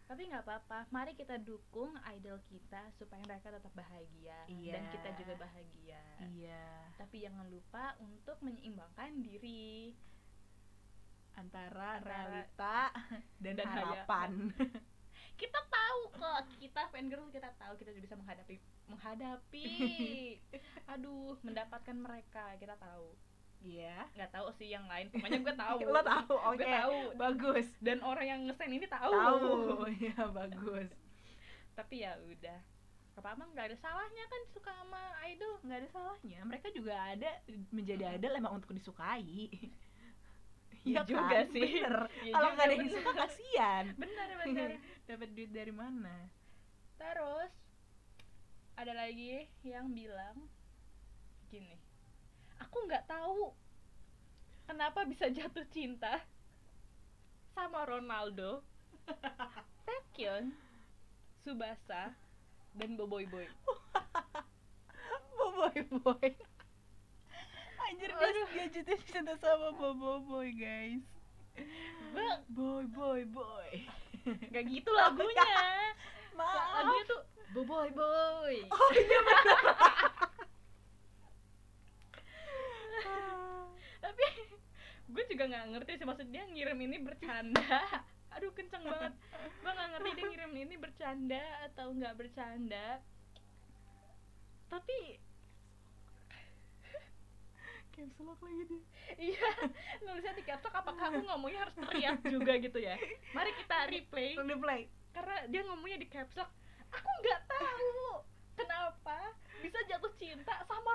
Speaker 2: Tapi nggak apa-apa, mari kita dukung idol kita supaya mereka tetap bahagia dan
Speaker 1: Iya.
Speaker 2: kita juga bahagia.
Speaker 1: Iya,
Speaker 2: Tapi jangan lupa untuk menyeimbangkan diri.
Speaker 1: antara,
Speaker 2: Antara-
Speaker 1: realita dan,
Speaker 2: dan
Speaker 1: harapan.
Speaker 2: kita tahu kok kita fan girl kita tahu kita juga bisa menghadapi menghadapi aduh mendapatkan mereka kita tahu
Speaker 1: Iya.
Speaker 2: nggak tahu sih yang lain pokoknya gue tahu
Speaker 1: Lo tahu, oke.
Speaker 2: gue tahu
Speaker 1: Bagus.
Speaker 2: dan orang yang ngesen ini tahu,
Speaker 1: Tahu. Iya, bagus.
Speaker 2: tapi ya udah apa apa nggak ada salahnya kan suka sama idol
Speaker 1: nggak ada salahnya mereka juga ada menjadi idol emang untuk disukai kan?
Speaker 2: Iya juga sih.
Speaker 1: bener. Iya.
Speaker 2: Iya
Speaker 1: kalau
Speaker 2: juga,
Speaker 1: nggak ada yang
Speaker 2: bener.
Speaker 1: suka kasihan
Speaker 2: benar benar
Speaker 1: dapat duit dari mana
Speaker 2: Terus ada lagi yang bilang gini, aku nggak tahu kenapa bisa jatuh cinta sama Ronaldo, Taekyon, Subasa, dan Boboiboy.
Speaker 1: boboy boy anjir dia
Speaker 2: Aduh.
Speaker 1: dia jatuh cinta sama bobo boy guys
Speaker 2: Gue
Speaker 1: boy boy boy
Speaker 2: nggak gitu lagunya.
Speaker 1: maaf
Speaker 2: Lagunya tuh Boboiboy. Boy. Tapi gue juga nggak ngerti sih maksud dia ngirim ini bercanda. Aduh kenceng banget. Gue nggak ngerti dia ngirim ini bercanda atau nggak bercanda. Tapi
Speaker 1: caps lock lagi dia
Speaker 2: iya nulisnya di capsok apa kamu ngomongnya harus teriak juga gitu ya. Mari kita replay
Speaker 1: Langsung di play
Speaker 2: karena dia ngomongnya di capsok. Aku nggak tahu kenapa bisa jatuh cinta sama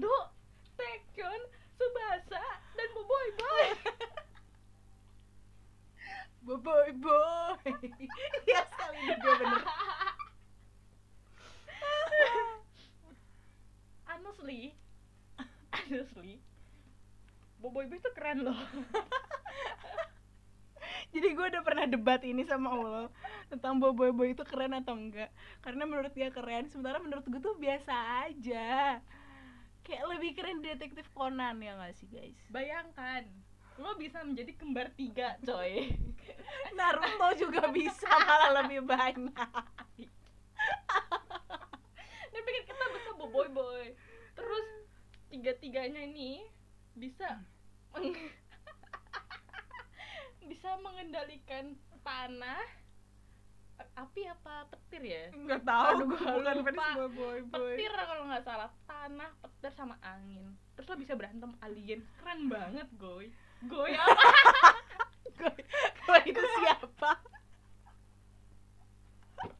Speaker 2: Ronaldo, Taekyon, Subasa dan Boboiboy.
Speaker 1: boboy boy ya sekali ini dia bener
Speaker 2: honestly honestly Boboiboy itu keren loh
Speaker 1: Jadi gue udah pernah debat ini sama lo tentang Boboiboy Boy itu keren atau enggak. Karena menurut dia keren, sementara menurut gue tuh biasa aja. Kayak lebih keren detektif Conan ya gak sih guys?
Speaker 2: bayangkan lo bisa menjadi kembar tiga coy
Speaker 1: Naruto juga bisa malah lebih banyak.
Speaker 2: dia pikir kita bisa Boboiboy terus tiga tiganya ini bisa meng- bisa mengendalikan tanah api apa petir ya
Speaker 1: Enggak
Speaker 2: Aduh,
Speaker 1: gue
Speaker 2: gua
Speaker 1: bukan
Speaker 2: lupa.
Speaker 1: fans Boboiboy Boy.
Speaker 2: petir kalau nggak salah tanah petir sama angin terus lo bisa berantem alien keren banget goy goy apa
Speaker 1: Gue- Gue itu siapa?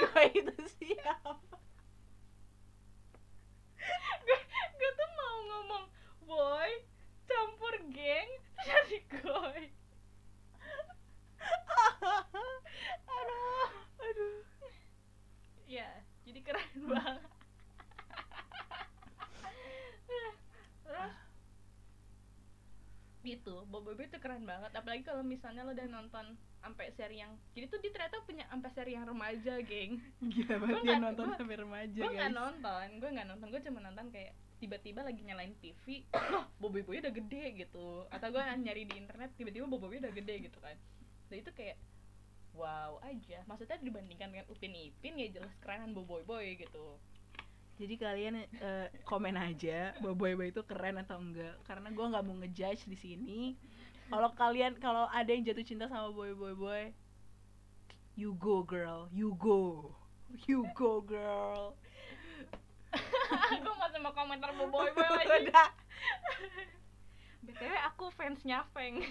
Speaker 1: gue itu siapa?
Speaker 2: gue gue tuh mau ngomong boy campur geng jadi goy
Speaker 1: aduh, aduh.
Speaker 2: ya jadi keren banget terus di itu Gitu, Bob Bob itu keren banget apalagi kalau misalnya lo udah nonton sampai seri yang jadi tuh dia ternyata punya sampai seri yang remaja geng
Speaker 1: Gila banget
Speaker 2: Gua
Speaker 1: dia
Speaker 2: nggak-
Speaker 1: nonton
Speaker 2: gua-
Speaker 1: sampai remaja
Speaker 2: gue
Speaker 1: guys
Speaker 2: nggak nonton gue nggak nonton gue cuma nonton kayak tiba-tiba lagi nyalain TV loh Bob Bob udah gede gitu atau gue nyari di internet tiba-tiba Bob Bob udah gede gitu kan dan itu kayak wow aja maksudnya dibandingkan dengan Upin Ipin ya jelas kerenan Bob Boy Boy gitu
Speaker 1: Jadi kalian eh, komen aja Boboibo itu keren atau enggak karena gua nggak mau ngejudge di sini. Kalau kalian kalau ada yang jatuh cinta sama boy boy boy, you go girl, you go, you go girl.
Speaker 2: gue mau sama komentar Bob Boy Boy lagi
Speaker 1: Udah.
Speaker 2: btw aku fansnya Feng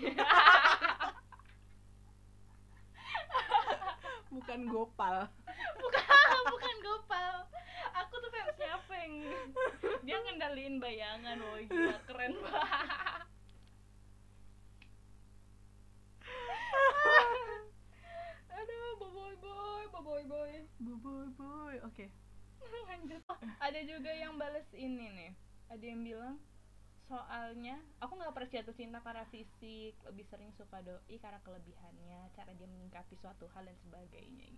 Speaker 1: Bukan Gopal.
Speaker 2: bukan bukan Gopal aku tuh fansnya Feng dia ngendaliin bayangan woi gila keren banget aduh boboy boy boboy boy
Speaker 1: Boboiboy, oke.
Speaker 2: lanjut Oh, ada juga yang bales ini nih ada yang bilang soalnya aku nggak pernah jatuh cinta karena fisik lebih sering suka doi karena kelebihannya cara dia menyingkapi suatu hal dan sebagainya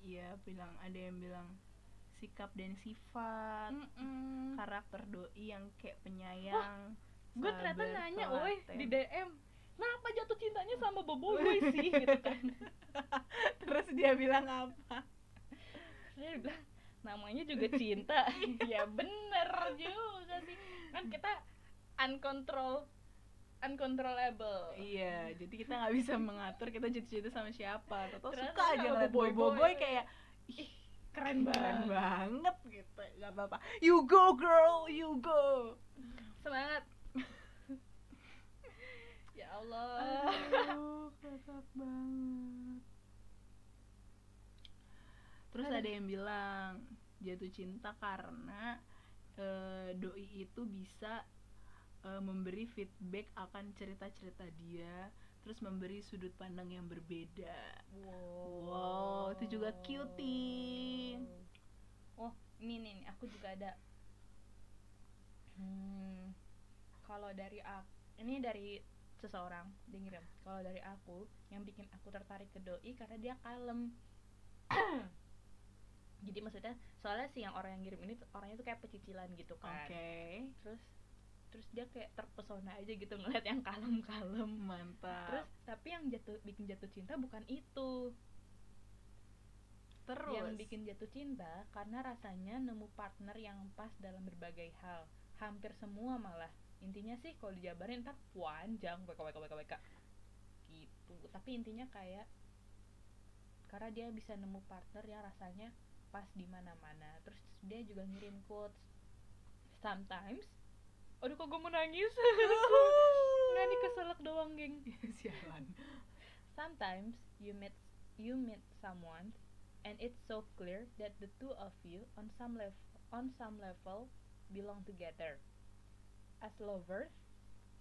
Speaker 1: Iya bilang ada yang bilang sikap dan sifat Hmm.
Speaker 2: Mm-mm.
Speaker 1: karakter doi yang kayak penyayang.
Speaker 2: gue ternyata
Speaker 1: sabar,
Speaker 2: nanya woi
Speaker 1: telaten.
Speaker 2: di DM kenapa jatuh cintanya sama Bobo Boy sih gitu kan
Speaker 1: Terus dia bilang apa?
Speaker 2: Terus dia bilang namanya juga cinta ya bener juga sih kan kita uncontrol uncontrollable
Speaker 1: Iya, jadi kita nggak bisa mengatur kita jatuh-jatuh sama siapa. Atau
Speaker 2: Ternyata
Speaker 1: suka aja
Speaker 2: sama
Speaker 1: ngeliat
Speaker 2: boy-boy.
Speaker 1: boy-boy kayak
Speaker 2: keren
Speaker 1: keren
Speaker 2: banget
Speaker 1: banget gitu. Gak apa-apa. You go girl, you go.
Speaker 2: semangat ya Allah
Speaker 1: Aduh, kakak banget. Terus
Speaker 2: Aduh.
Speaker 1: ada yang bilang jatuh cinta karena eh, doi itu bisa eh, memberi feedback akan cerita-cerita dia, terus memberi sudut pandang yang berbeda. Wow, itu juga cutie.
Speaker 2: Oh, ini nih, nih, aku juga ada. Hmm, kalau dari aku, ini dari seseorang, dengerin. Kalau dari aku, yang bikin aku tertarik ke doi karena dia kalem. Jadi maksudnya, soalnya sih yang orang yang ngirim ini tuh- orangnya tuh kayak pecicilan gitu
Speaker 1: Oke.
Speaker 2: kan. Terus terus dia kayak terpesona aja gitu ngeliat yang kalem-kalem.
Speaker 1: Mantap.
Speaker 2: Terus tapi yang jatuh bikin jatuh cinta bukan itu.
Speaker 1: Terus,
Speaker 2: Yang bikin jatuh cinta karena rasanya nemu partner yang pas dalam berbagai hal. Hampir semua malah. Intinya sih kalau dijabarin ntar panjang WK WK WK WK. Gitu. Tapi intinya kayak karena dia bisa nemu partner yang rasanya pas di mana-mana. Terus dia juga ngirim quotes. Sometimes Aduh kok gue mau nangis Nggak nih keselak doang geng
Speaker 1: Iya, sialan.
Speaker 2: Sometimes you meet you meet someone and it's so clear that the two of you on some level on some level belong together as lovers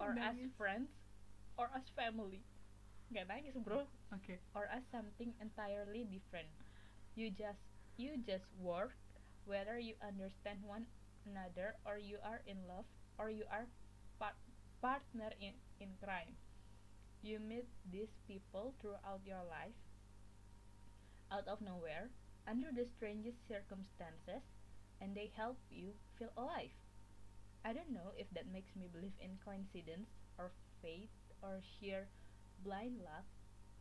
Speaker 2: or as
Speaker 1: Nangis.
Speaker 2: friends or as family. Gak nangis bro
Speaker 1: Oke.
Speaker 2: or as something entirely different. You just you just work whether you understand one another or you are in love or you are part, partner in, in crime. You meet these people throughout your life out of nowhere under the strangest circumstances and they help you feel alive. I don't know if that makes me believe in coincidence or fate or sheer blind luck,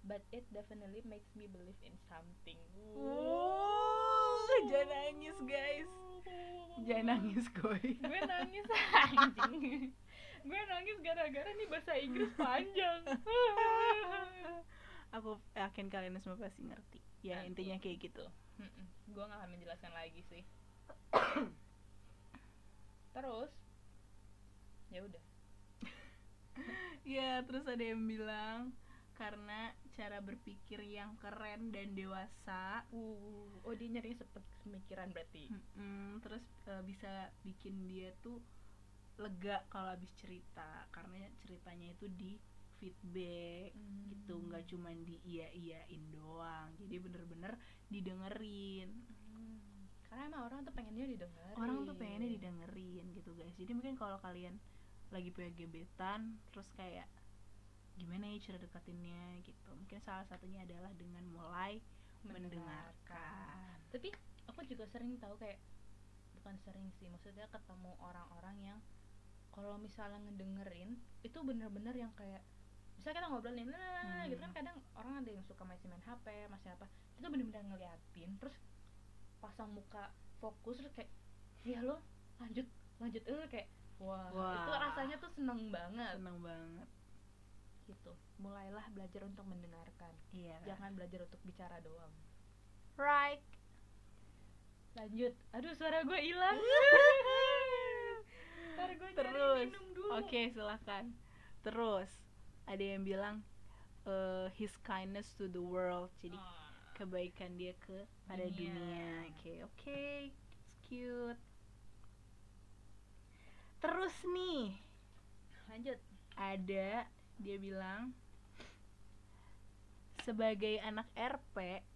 Speaker 2: but it definitely makes me believe in something.
Speaker 1: Wuh, jangan nangis guys. Jangan nangis goy.
Speaker 2: Gue nangis anjing. Gue nangis gara-gara nih bahasa Inggris panjang.
Speaker 1: Aku yakin kalian semua pasti ngerti. Ya
Speaker 2: Nanti.
Speaker 1: intinya kayak gitu.
Speaker 2: Mm-mm, Gue gak akan menjelaskan lagi sih. Terus, ya udah.
Speaker 1: Ya terus ada yang bilang karena cara berpikir yang keren dan dewasa.
Speaker 2: Uh, oh dia nyari pemikiran berarti.
Speaker 1: Mm-mm, terus eh, bisa bikin dia tuh lega kalau habis cerita karena ceritanya itu di feedback gitu nggak cuman di iya iyain doang jadi bener-bener didengerin
Speaker 2: Hmm, Karena emang orang tuh pengennya didengar.
Speaker 1: orang tuh pengennya didengerin gitu guys jadi mungkin kalau kalian lagi punya gebetan terus kayak gimana ya cara dekatinnya gitu mungkin salah satunya adalah dengan mulai mendengarkan
Speaker 2: tapi aku juga sering tahu kayak bukan sering sih maksudnya ketemu orang-orang yang kalau misalnya ngedengerin itu bener-bener yang kayak misalnya kita ngobrol nih nah, gitu kan
Speaker 1: Hmm.
Speaker 2: kadang orang ada yang suka masih main HP masih apa itu bener-bener ngeliatin terus pasang muka fokus terus kayak ya lo lanjut lanjut eh kayak wah,
Speaker 1: Wah.
Speaker 2: itu rasanya tuh seneng banget
Speaker 1: seneng banget
Speaker 2: gitu mulailah belajar untuk mendengarkan
Speaker 1: iya
Speaker 2: jangan belajar untuk bicara doang
Speaker 1: right
Speaker 2: lanjut aduh suara gue hilang Ntar gue nyari
Speaker 1: terus
Speaker 2: minum dulu.
Speaker 1: oke silakan terus ada yang bilang eh, his kindness to the world jadi
Speaker 2: Ah.
Speaker 1: kebaikan dia ke pada
Speaker 2: Dunia.
Speaker 1: dunia. Oke, oke. It's cute. Terus nih,
Speaker 2: lanjut
Speaker 1: ada dia bilang sebagai anak RP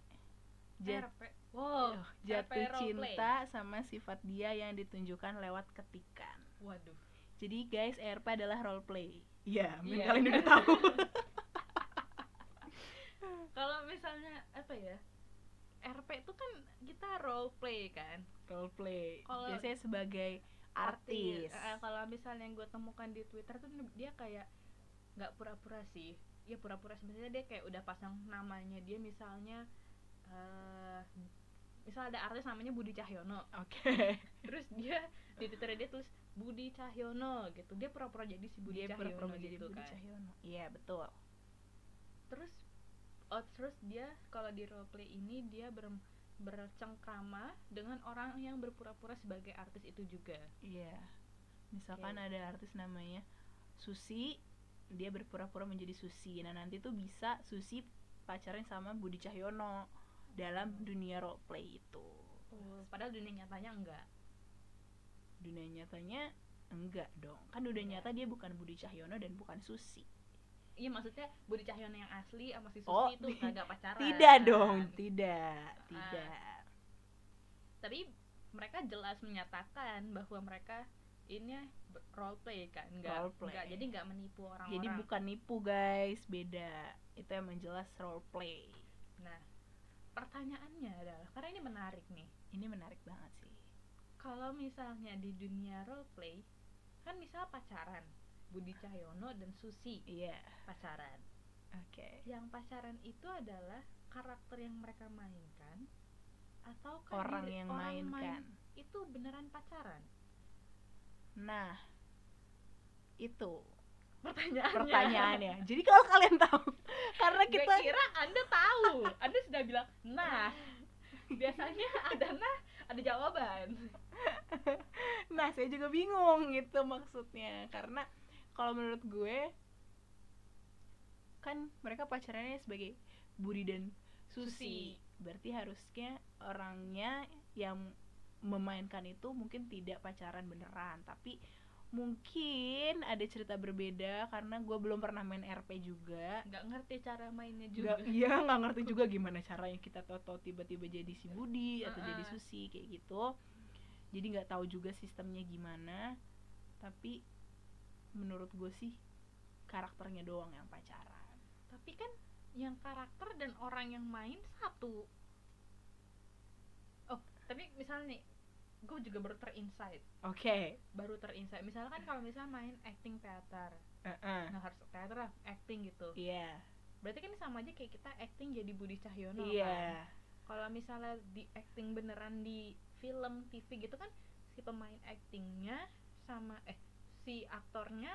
Speaker 1: jat-
Speaker 2: RP wow
Speaker 1: oh, jatuh
Speaker 2: RP role
Speaker 1: cinta sama sifat dia yang ditunjukkan lewat ketikan.
Speaker 2: waduh
Speaker 1: Jadi guys, RP adalah role play. Iya, mungkin
Speaker 2: Iya.
Speaker 1: kalian udah tahu.
Speaker 2: kalau misalnya apa ya RP itu kan kita role play kan
Speaker 1: role play.
Speaker 2: Kalau-
Speaker 1: Biasanya sebagai artis.
Speaker 2: Eh, kalau misalnya yang gue temukan di Twitter tuh dia kayak nggak pura-pura sih ya pura-pura sebenarnya dia kayak udah pasang namanya dia misalnya eh misal ada artis namanya Budi Cahyono
Speaker 1: Oke.
Speaker 2: terus dia di Twitter dia tulis Budi Cahyono gitu dia pura-pura jadi si Budi
Speaker 1: dia
Speaker 2: Cahyono
Speaker 1: pura-pura jadi
Speaker 2: gitu
Speaker 1: Budi
Speaker 2: kan
Speaker 1: Cahyono. Iya, betul.
Speaker 2: terus oh, terus dia kalau di roleplay ini dia ber, bercengkrama dengan orang yang berpura-pura sebagai artis itu juga
Speaker 1: Iya. Misalkan ada artis namanya Susi, dia berpura-pura menjadi Susi. Nah, nanti tuh bisa Susi pacaran sama Budi Cahyono
Speaker 2: Oh.
Speaker 1: dalam dunia roleplay itu. Oh.
Speaker 2: padahal dunia nyatanya enggak
Speaker 1: Dunia nyatanya enggak dong. Kan dunia
Speaker 2: Enggak.
Speaker 1: nyata dia bukan Budi Cahyono dan bukan Susi.
Speaker 2: iya maksudnya Budi Cahyono yang asli sama si Susi
Speaker 1: Oh,
Speaker 2: itu
Speaker 1: di-
Speaker 2: kagak pacaran
Speaker 1: Tidak dong, tidak,
Speaker 2: Ah.
Speaker 1: tidak.
Speaker 2: tapi mereka jelas menyatakan bahwa mereka ini ber- roleplay kan enggak
Speaker 1: Roleplay.
Speaker 2: enggak jadi enggak menipu orang-orang
Speaker 1: Jadi bukan nipu, guys. Beda. Itu emang jelas roleplay.
Speaker 2: nah pertanyaannya adalah karena ini menarik nih
Speaker 1: Ini menarik banget sih.
Speaker 2: kalau misalnya di dunia roleplay kan misal pacaran Budi Cahyono dan Susi
Speaker 1: Iya.
Speaker 2: pacaran
Speaker 1: Oke.
Speaker 2: yang pacaran itu adalah karakter yang mereka mainkan atau
Speaker 1: Orang yang mainkan.
Speaker 2: itu beneran pacaran
Speaker 1: Nah, itu
Speaker 2: Iya. pertanyaannya
Speaker 1: pertanyaannya. Jadi kalau kalian tahu, karena
Speaker 2: Gue
Speaker 1: kita
Speaker 2: kira anda tahu anda sudah bilang nah biasanya ada nah ada jawaban
Speaker 1: nah saya juga bingung gitu maksudnya karena kalau menurut gue kan mereka pacarannya sebagai Budi dan Susi.
Speaker 2: Susi.
Speaker 1: Berarti harusnya orangnya yang memainkan itu mungkin tidak pacaran beneran, tapi mungkin ada cerita berbeda karena gue belum pernah main RP juga.
Speaker 2: nggak ngerti cara mainnya juga
Speaker 1: juga iya nggak ngerti juga gimana caranya kita tahu-tahu tiba-tiba jadi si Budi atau jadi
Speaker 2: Heeh.
Speaker 1: Susi kayak gitu jadi nggak tahu juga sistemnya gimana tapi menurut gue sih karakternya doang yang pacaran
Speaker 2: tapi kan yang karakter dan orang yang main satu oh tapi misalnya nih gue juga baru terinsight
Speaker 1: oke
Speaker 2: baru terinsight misalkan kalau misalnya main acting teater
Speaker 1: Heeh.
Speaker 2: nah harus teater lah acting gitu
Speaker 1: iya
Speaker 2: berarti kan sama aja kayak kita acting jadi Budi Cahyono
Speaker 1: iya
Speaker 2: kan? kalau misalnya di acting beneran di film TV gitu kan si pemain actingnya sama eh si aktornya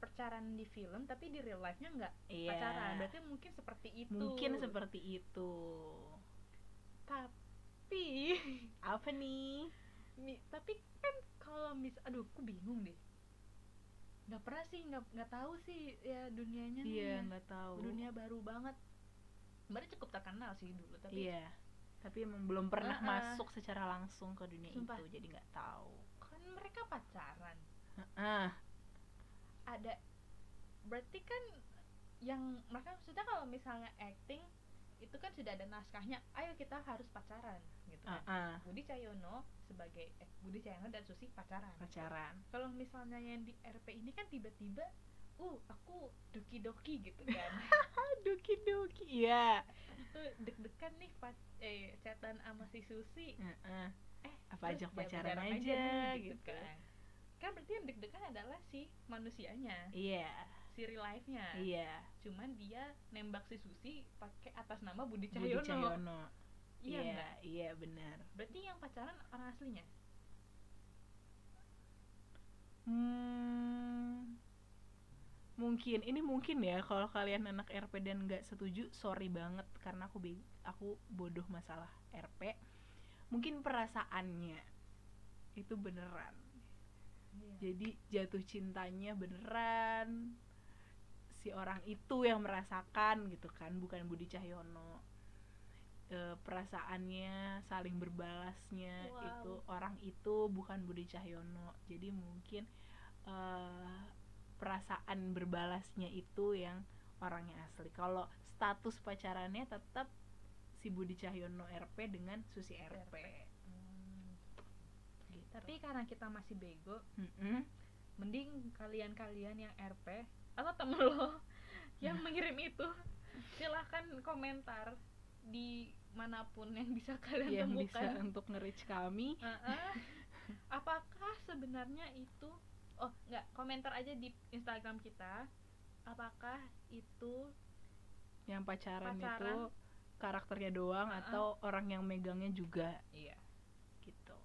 Speaker 2: pacaran di film tapi di real life-nya nggak
Speaker 1: iya
Speaker 2: pacaran berarti mungkin seperti itu
Speaker 1: mungkin seperti itu
Speaker 2: tapi
Speaker 1: apa nih
Speaker 2: Mi- tapi kan kalau mis aduh aku bingung deh nggak pernah sih nggak nggak tahu sih ya dunianya nih
Speaker 1: iya
Speaker 2: ya.
Speaker 1: nggak tahu
Speaker 2: dunia baru banget sebenarnya cukup terkenal sih dulu tapi
Speaker 1: iya tapi emang belum pernah
Speaker 2: Heeh.
Speaker 1: masuk secara langsung ke dunia
Speaker 2: Sumpah.
Speaker 1: itu jadi nggak tahu
Speaker 2: kan mereka pacaran
Speaker 1: ah
Speaker 2: ada berarti kan yang mereka maksudnya kalau misalnya acting itu kan sudah ada naskahnya ayo kita harus pacaran gitu kan
Speaker 1: Ah, ah,
Speaker 2: Budi Cahyono sebagai eh, Budi Cahyono dan Susi pacaran
Speaker 1: pacaran
Speaker 2: kalau misalnya yang di RP ini kan tiba-tiba uh aku doki doki gitu kan
Speaker 1: doki doki iya
Speaker 2: itu deg-degan nih pas eh chatan sama si Susi
Speaker 1: Heeh.
Speaker 2: eh
Speaker 1: Apa
Speaker 2: terus
Speaker 1: ajak
Speaker 2: ya
Speaker 1: pacaran
Speaker 2: pacaran
Speaker 1: aja,
Speaker 2: nih,
Speaker 1: gitu.
Speaker 2: kan kan berarti yang deg-degan adalah si manusianya
Speaker 1: iya
Speaker 2: si real life-nya
Speaker 1: iya
Speaker 2: cuman dia nembak si Susi pakai atas nama Budi
Speaker 1: Budi
Speaker 2: Cahyono,
Speaker 1: Cahyono
Speaker 2: iya
Speaker 1: iya
Speaker 2: nggak?
Speaker 1: iya benar
Speaker 2: berarti yang pacaran orang aslinya
Speaker 1: Hmm, mungkin ini mungkin ya kalau kalian anak RP dan nggak setuju, sorry banget karena aku be- aku bodoh masalah RP. Mungkin perasaannya itu beneran.
Speaker 2: Iya,
Speaker 1: Jadi jatuh cintanya beneran si orang itu yang merasakan gitu kan, bukan Budi Cahyono. E, perasaannya saling berbalasnya
Speaker 2: Wow.
Speaker 1: itu orang itu bukan Budi Cahyono. Jadi mungkin eh, perasaan berbalasnya itu yang orangnya asli. Kalau status pacarannya tetap si Budi Cahyono RP dengan Susi RP.
Speaker 2: Hmm.
Speaker 1: Gitu.
Speaker 2: tapi karena kita masih bego
Speaker 1: Mm-mm.
Speaker 2: mending kalian-kalian yang RP atau temen lo yang mengirim itu silahkan komentar di manapun yang bisa kalian
Speaker 1: Iya, yang bisa
Speaker 2: temukan
Speaker 1: untuk nge-reach kami
Speaker 2: Heeh. apakah sebenarnya itu oh nggak komentar aja di Instagram kita apakah itu
Speaker 1: yang pacaran, itu
Speaker 2: Pacaran.
Speaker 1: karakternya doang
Speaker 2: Uh-uh.
Speaker 1: atau orang yang megangnya juga
Speaker 2: iya
Speaker 1: gitu.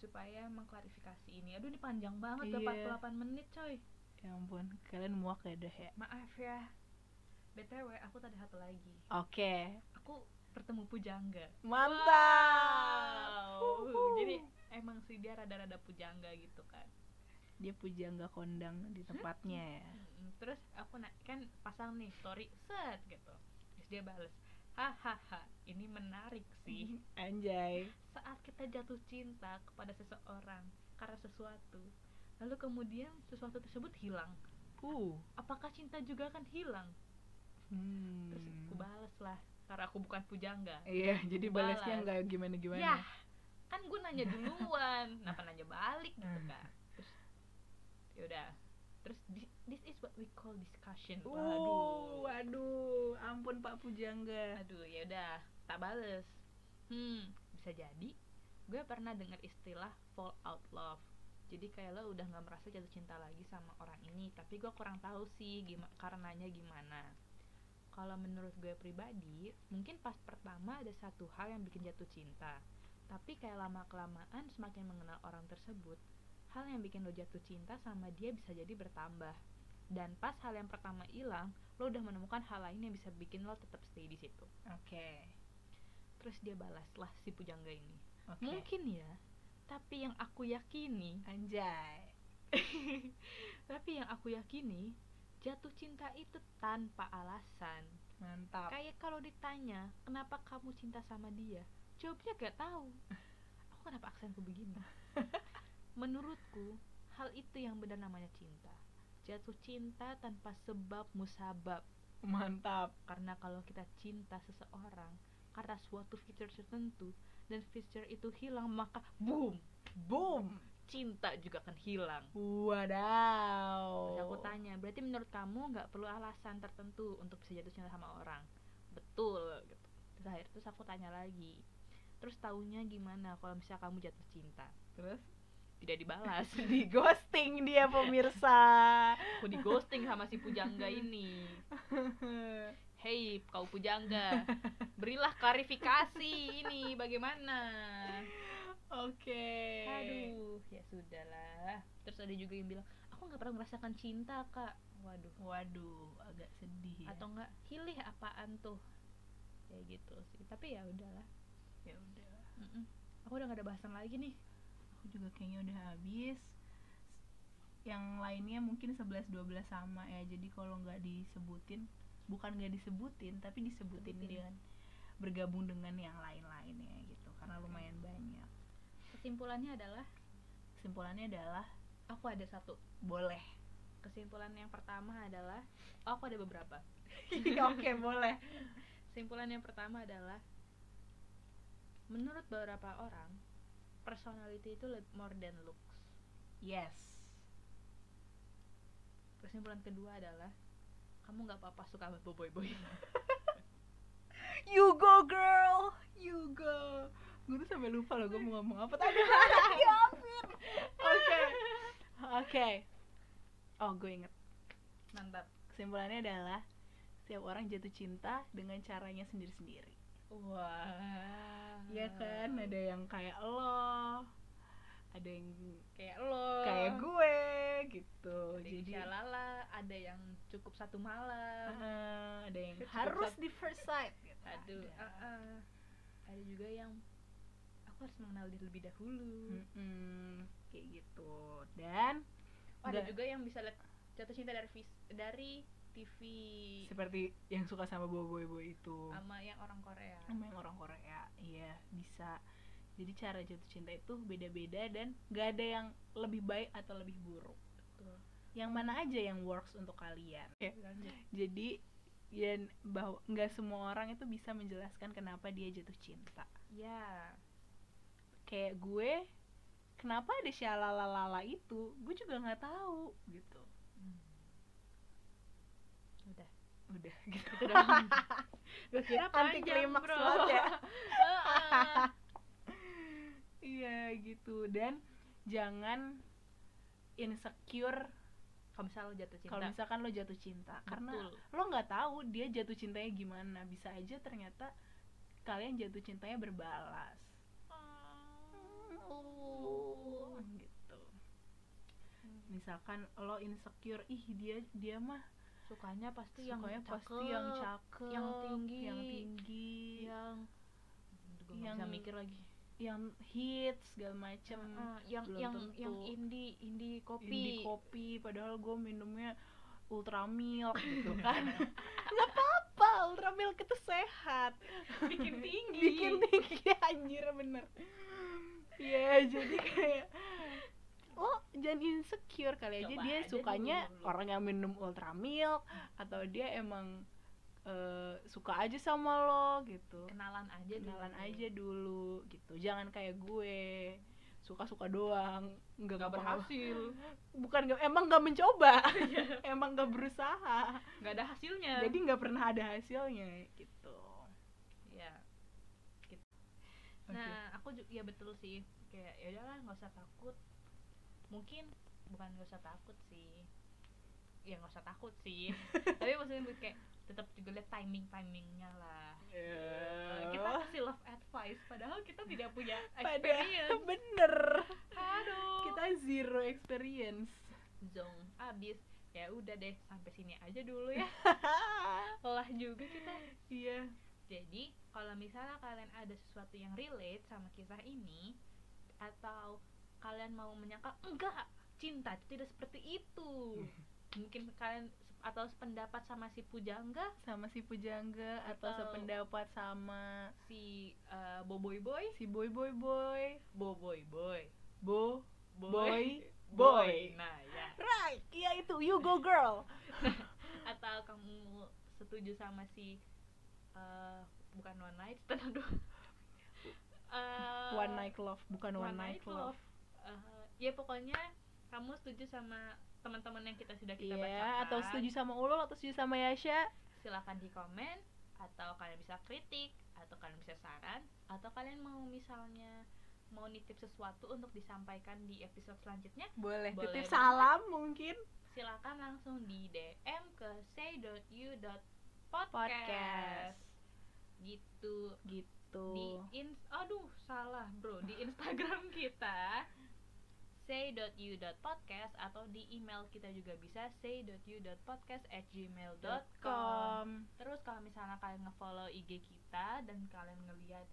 Speaker 2: supaya mengklarifikasi ini aduh ini panjang banget udah
Speaker 1: Iya.
Speaker 2: 48 menit coy
Speaker 1: Ya ampun, kalian muak ya deh ya.
Speaker 2: maaf ya btw aku tadi satu lagi
Speaker 1: Oke,
Speaker 2: aku bertemu pujangga
Speaker 1: mantap.
Speaker 2: Wow.
Speaker 1: Wuhu.
Speaker 2: Jadi emang sih dia rada-rada pujangga gitu kan.
Speaker 1: dia pujangga kondang di
Speaker 2: Hmm?
Speaker 1: tempatnya ya.
Speaker 2: Mm, Terus aku na- kan pasang nih story set gitu. Terus dia bales, hahaha ini menarik sih.
Speaker 1: Anjay.
Speaker 2: Saat kita jatuh cinta kepada seseorang karena sesuatu, lalu kemudian sesuatu tersebut hilang.
Speaker 1: Uh.
Speaker 2: Apakah cinta juga akan hilang?
Speaker 1: Hmm.
Speaker 2: Terus aku bales lah, karena aku bukan pujangga.
Speaker 1: Iya, jadi balasnya
Speaker 2: balas.
Speaker 1: nggak gimana-gimana.
Speaker 2: Yah, kan gue nanya duluan, kenapa nanya balik gitu kan? Terus yaudah, terus thi- this is what we call discussion.
Speaker 1: Uh,
Speaker 2: Waduh,
Speaker 1: waduh, ampun Pak Pujangga.
Speaker 2: aduh yaudah, tak bales. Hmm, bisa jadi gue pernah dengar istilah fall out love. Jadi kayak lo udah nggak merasa jatuh cinta lagi sama orang ini, tapi gue kurang tahu sih gimana karenanya gimana. Kalau menurut gue pribadi, mungkin pas pertama ada satu hal yang bikin jatuh cinta. Tapi kayak lama-kelamaan semakin mengenal orang tersebut, hal yang bikin lo jatuh cinta sama dia bisa jadi bertambah. Dan pas hal yang pertama hilang, lo udah menemukan hal lain yang bisa bikin lo tetap stay di situ.
Speaker 1: Oke.
Speaker 2: Terus dia balaslah si pujangga ini.
Speaker 1: Oke.
Speaker 2: Mungkin ya, tapi yang aku yakini,
Speaker 1: Anjay.
Speaker 2: tapi yang aku yakini, jatuh cinta itu tanpa alasan.
Speaker 1: Mantap.
Speaker 2: Kayak kalau ditanya, kenapa kamu cinta sama dia? Jawabnya gak tahu. Aku kenapa aksenku begini? Menurutku, hal itu yang benar namanya cinta. Jatuh cinta tanpa sebab musabab.
Speaker 1: Mantap.
Speaker 2: Karena kalau kita cinta seseorang karena suatu fitur tertentu dan fitur itu hilang maka boom,
Speaker 1: Boom.
Speaker 2: cinta juga akan hilang.
Speaker 1: Wadaw.
Speaker 2: Terus aku tanya, berarti menurut kamu nggak perlu alasan tertentu untuk bisa jatuh cinta sama orang? Betul. Gitu. Terus akhir terus aku tanya lagi. Terus taunya gimana kalau misalnya kamu jatuh cinta?
Speaker 1: Terus
Speaker 2: Tidak dibalas.
Speaker 1: di ghosting dia pemirsa.
Speaker 2: aku di ghosting sama si pujangga ini. Hei, kau pujangga, berilah klarifikasi ini bagaimana?
Speaker 1: Oke.
Speaker 2: Aduh, ya sudahlah. Terus ada juga yang bilang, aku nggak pernah merasakan cinta kak. Waduh.
Speaker 1: Waduh, agak sedih. ya.
Speaker 2: atau enggak pilih apaan tuh ya gitu sih tapi ya udahlah
Speaker 1: ya udah.
Speaker 2: Mm-mm. aku udah gak ada bahasan lagi nih
Speaker 1: Aku juga kayaknya udah habis. Yang lainnya mungkin 11 12 sama ya. Jadi kalau nggak disebutin, bukan nggak disebutin, tapi disebutin
Speaker 2: Sebutin.
Speaker 1: dengan bergabung dengan yang lain-lainnya gitu. Karena lumayan banyak.
Speaker 2: kesimpulannya adalah
Speaker 1: Kesimpulannya adalah
Speaker 2: aku ada satu
Speaker 1: boleh.
Speaker 2: kesimpulan yang pertama adalah oh, aku ada beberapa
Speaker 1: Oke, boleh.
Speaker 2: Simpulan yang pertama adalah menurut beberapa orang, personality itu leb- more than looks.
Speaker 1: Yes.
Speaker 2: Kesimpulan kedua adalah kamu nggak apa-apa suka sama boy-boy.
Speaker 1: You go girl, you go. Gue tuh sampai lupa loh gue mau ngomong apa tadi. ya ampun. Oke. Oke. Oh, gue inget.
Speaker 2: Mantap.
Speaker 1: Kesimpulannya adalah setiap orang jatuh cinta dengan caranya sendiri-sendiri.
Speaker 2: Wah.
Speaker 1: Iya kan? Ada yang kayak lo, ada yang
Speaker 2: kayak lo.
Speaker 1: kayak gue gitu.
Speaker 2: Oh. Ada yang
Speaker 1: Jadi
Speaker 2: syalala, ada yang cukup satu malam.
Speaker 1: eh, ada yang
Speaker 2: Cukup
Speaker 1: harus
Speaker 2: sab-
Speaker 1: di first sight. gitu.
Speaker 2: Aduh,
Speaker 1: Ada.
Speaker 2: ah, ah. ada juga yang aku harus mengenal dia lebih
Speaker 1: Hmm.
Speaker 2: dahulu.
Speaker 1: Mm-mm, kayak gitu. Dan
Speaker 2: Oh, ada
Speaker 1: Udah.
Speaker 2: juga yang bisa lihat jatuh cinta dari vis- dari TV
Speaker 1: seperti yang suka sama boy-boy itu. Hmm.
Speaker 2: sama yang orang Korea.
Speaker 1: sama yang orang Korea iya bisa jadi cara jatuh cinta itu beda-beda dan gak ada yang lebih baik atau lebih buruk
Speaker 2: Betul.
Speaker 1: yang mana aja yang works untuk kalian
Speaker 2: Lanjut.
Speaker 1: jadi dan bahwa nggak semua orang itu bisa menjelaskan kenapa dia jatuh cinta Iya.
Speaker 2: Ya,
Speaker 1: kayak gue kenapa ada syalalalala itu gue juga nggak tahu gitu
Speaker 2: Hmm. udah.
Speaker 1: udah gitu
Speaker 2: Itu doang. Gue kira
Speaker 1: Anti
Speaker 2: panjang,
Speaker 1: klimaks
Speaker 2: bro.
Speaker 1: banget ya.
Speaker 2: Heeh.
Speaker 1: iya gitu dan jangan insecure
Speaker 2: Kalau misalnya lo jatuh cinta.
Speaker 1: kalau misalkan lo jatuh cinta karena
Speaker 2: Betul.
Speaker 1: lo nggak tahu dia jatuh cintanya gimana bisa aja ternyata kalian jatuh cintanya berbalas gitu
Speaker 2: Hmm.
Speaker 1: misalkan lo insecure ih dia dia mah
Speaker 2: Sukanya pasti yang
Speaker 1: sukanya pasti yang cakep
Speaker 2: yang tinggi,
Speaker 1: yang tinggi
Speaker 2: yang Aduh, gua nggak
Speaker 1: yang- eh,
Speaker 2: bisa mikir lagi.
Speaker 1: yang hits segala macem
Speaker 2: Heeh, yang
Speaker 1: belum
Speaker 2: yang
Speaker 1: tentu.
Speaker 2: yang indie indie kopi.
Speaker 1: Indie kopi padahal gue minumnya ultramilk gitu kan
Speaker 2: Iya.
Speaker 1: nggak apa-apa ultramilk itu sehat
Speaker 2: Bikin tinggi.
Speaker 1: bikin tinggi anjir bener ya jadi kayak lo jangan insecure kali aja
Speaker 2: Coba
Speaker 1: dia
Speaker 2: aja
Speaker 1: sukanya
Speaker 2: dulu.
Speaker 1: orang yang minum ultramilk atau dia emang eh, suka aja sama lo gitu
Speaker 2: kenalan aja dulu.
Speaker 1: kenalan aja dulu gitu jangan kayak gue suka-suka doang nggak
Speaker 2: nggak
Speaker 1: ngapa-ngapa.
Speaker 2: berhasil
Speaker 1: bukan nggak- emang nggak mencoba emang nggak berusaha
Speaker 2: nggak ada hasilnya
Speaker 1: jadi nggak pernah ada hasilnya gitu
Speaker 2: ya gitu.
Speaker 1: Oke.
Speaker 2: nah aku juga ya betul sih kayak ya udahlah nggak usah takut mungkin bukan nggak usah takut sih ya nggak usah takut sih tapi maksudnya gue kayak tetap juga lihat timing timingnya lah Eh, kita kasih love advice padahal kita tidak punya
Speaker 1: Oh. Padahal
Speaker 2: experience
Speaker 1: bener
Speaker 2: aduh
Speaker 1: kita zero experience
Speaker 2: zong abis ya udah deh sampai sini aja dulu ya lelah juga kita
Speaker 1: iya
Speaker 2: Jadi, kalau misalnya kalian ada sesuatu yang relate sama kisah ini atau kalian mau menyangka enggak, cinta itu tidak seperti itu. Mungkin kalian se- atau sependapat sama si Pujangga,
Speaker 1: sama si pujangga atau
Speaker 2: Atau-
Speaker 1: sependapat sama
Speaker 2: si eh, Boboy Boy,
Speaker 1: si boy boy boy
Speaker 2: Boboy Boy,
Speaker 1: bo Boy,
Speaker 2: Boy.
Speaker 1: boy.
Speaker 2: Nah, ya.
Speaker 1: right iya itu you go girl
Speaker 2: Atau kamu setuju sama si eh, bukan one night stand aduh. Eh,
Speaker 1: one night love bukan Uh, one, night, love,
Speaker 2: Eh, ya pokoknya kamu setuju sama teman-teman yang kita sudah kita
Speaker 1: Iya,
Speaker 2: bacakan
Speaker 1: atau setuju sama Ulul atau setuju sama Yasha?
Speaker 2: silahkan di komen atau kalian bisa kritik atau kalian bisa saran atau kalian mau misalnya mau nitip sesuatu untuk disampaikan di episode selanjutnya
Speaker 1: Boleh.
Speaker 2: Boleh
Speaker 1: Titip
Speaker 2: banget.
Speaker 1: salam mungkin
Speaker 2: silahkan langsung di DM ke say.you.podcast
Speaker 1: podcast.
Speaker 2: gitu
Speaker 1: Gitu.
Speaker 2: di in aduh salah bro di Instagram kita say.you.podcast atau di email kita juga bisa say.you.podcast at gmail.com
Speaker 1: .com.
Speaker 2: terus kalau misalnya kalian ngefollow IG kita dan kalian ngelihat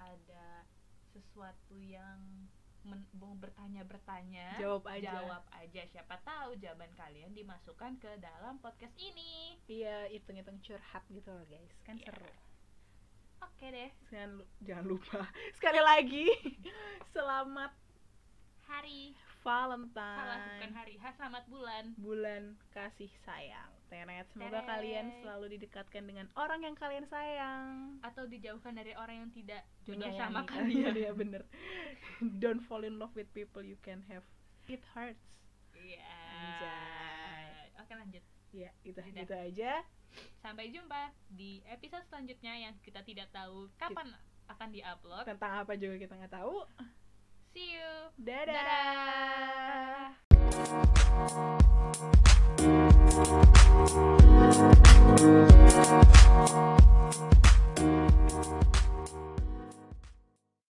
Speaker 2: ada sesuatu yang men- mau bertanya-bertanya
Speaker 1: Jawab aja.
Speaker 2: jawab aja siapa tahu jawaban kalian dimasukkan ke dalam podcast ini
Speaker 1: Iya, hitung-hitung curhat gitu loh, guys. Kan
Speaker 2: Iya.
Speaker 1: seru.
Speaker 2: oke deh
Speaker 1: Jangan, lu- jangan lupa sekali lagi selamat
Speaker 2: hari
Speaker 1: Valentine.
Speaker 2: Salah bukan hari. Ha, selamat bulan.
Speaker 1: Bulan kasih sayang. Teret. Semoga
Speaker 2: Teret.
Speaker 1: kalian selalu didekatkan dengan orang yang kalian sayang.
Speaker 2: Atau dijauhkan dari orang yang tidak jodoh
Speaker 1: Menyayangi
Speaker 2: sama kalian.
Speaker 1: Iya, bener. Don't fall in love with people you can have. It hurts.
Speaker 2: Iya.
Speaker 1: Anjay.
Speaker 2: Oke, lanjut.
Speaker 1: Ya, itu
Speaker 2: Udah.
Speaker 1: gitu aja.
Speaker 2: Sampai jumpa di episode selanjutnya yang kita tidak tahu kapan akan diupload.
Speaker 1: Tentang apa juga kita nggak tahu.
Speaker 2: See you.
Speaker 1: Dadah.
Speaker 2: Dadah.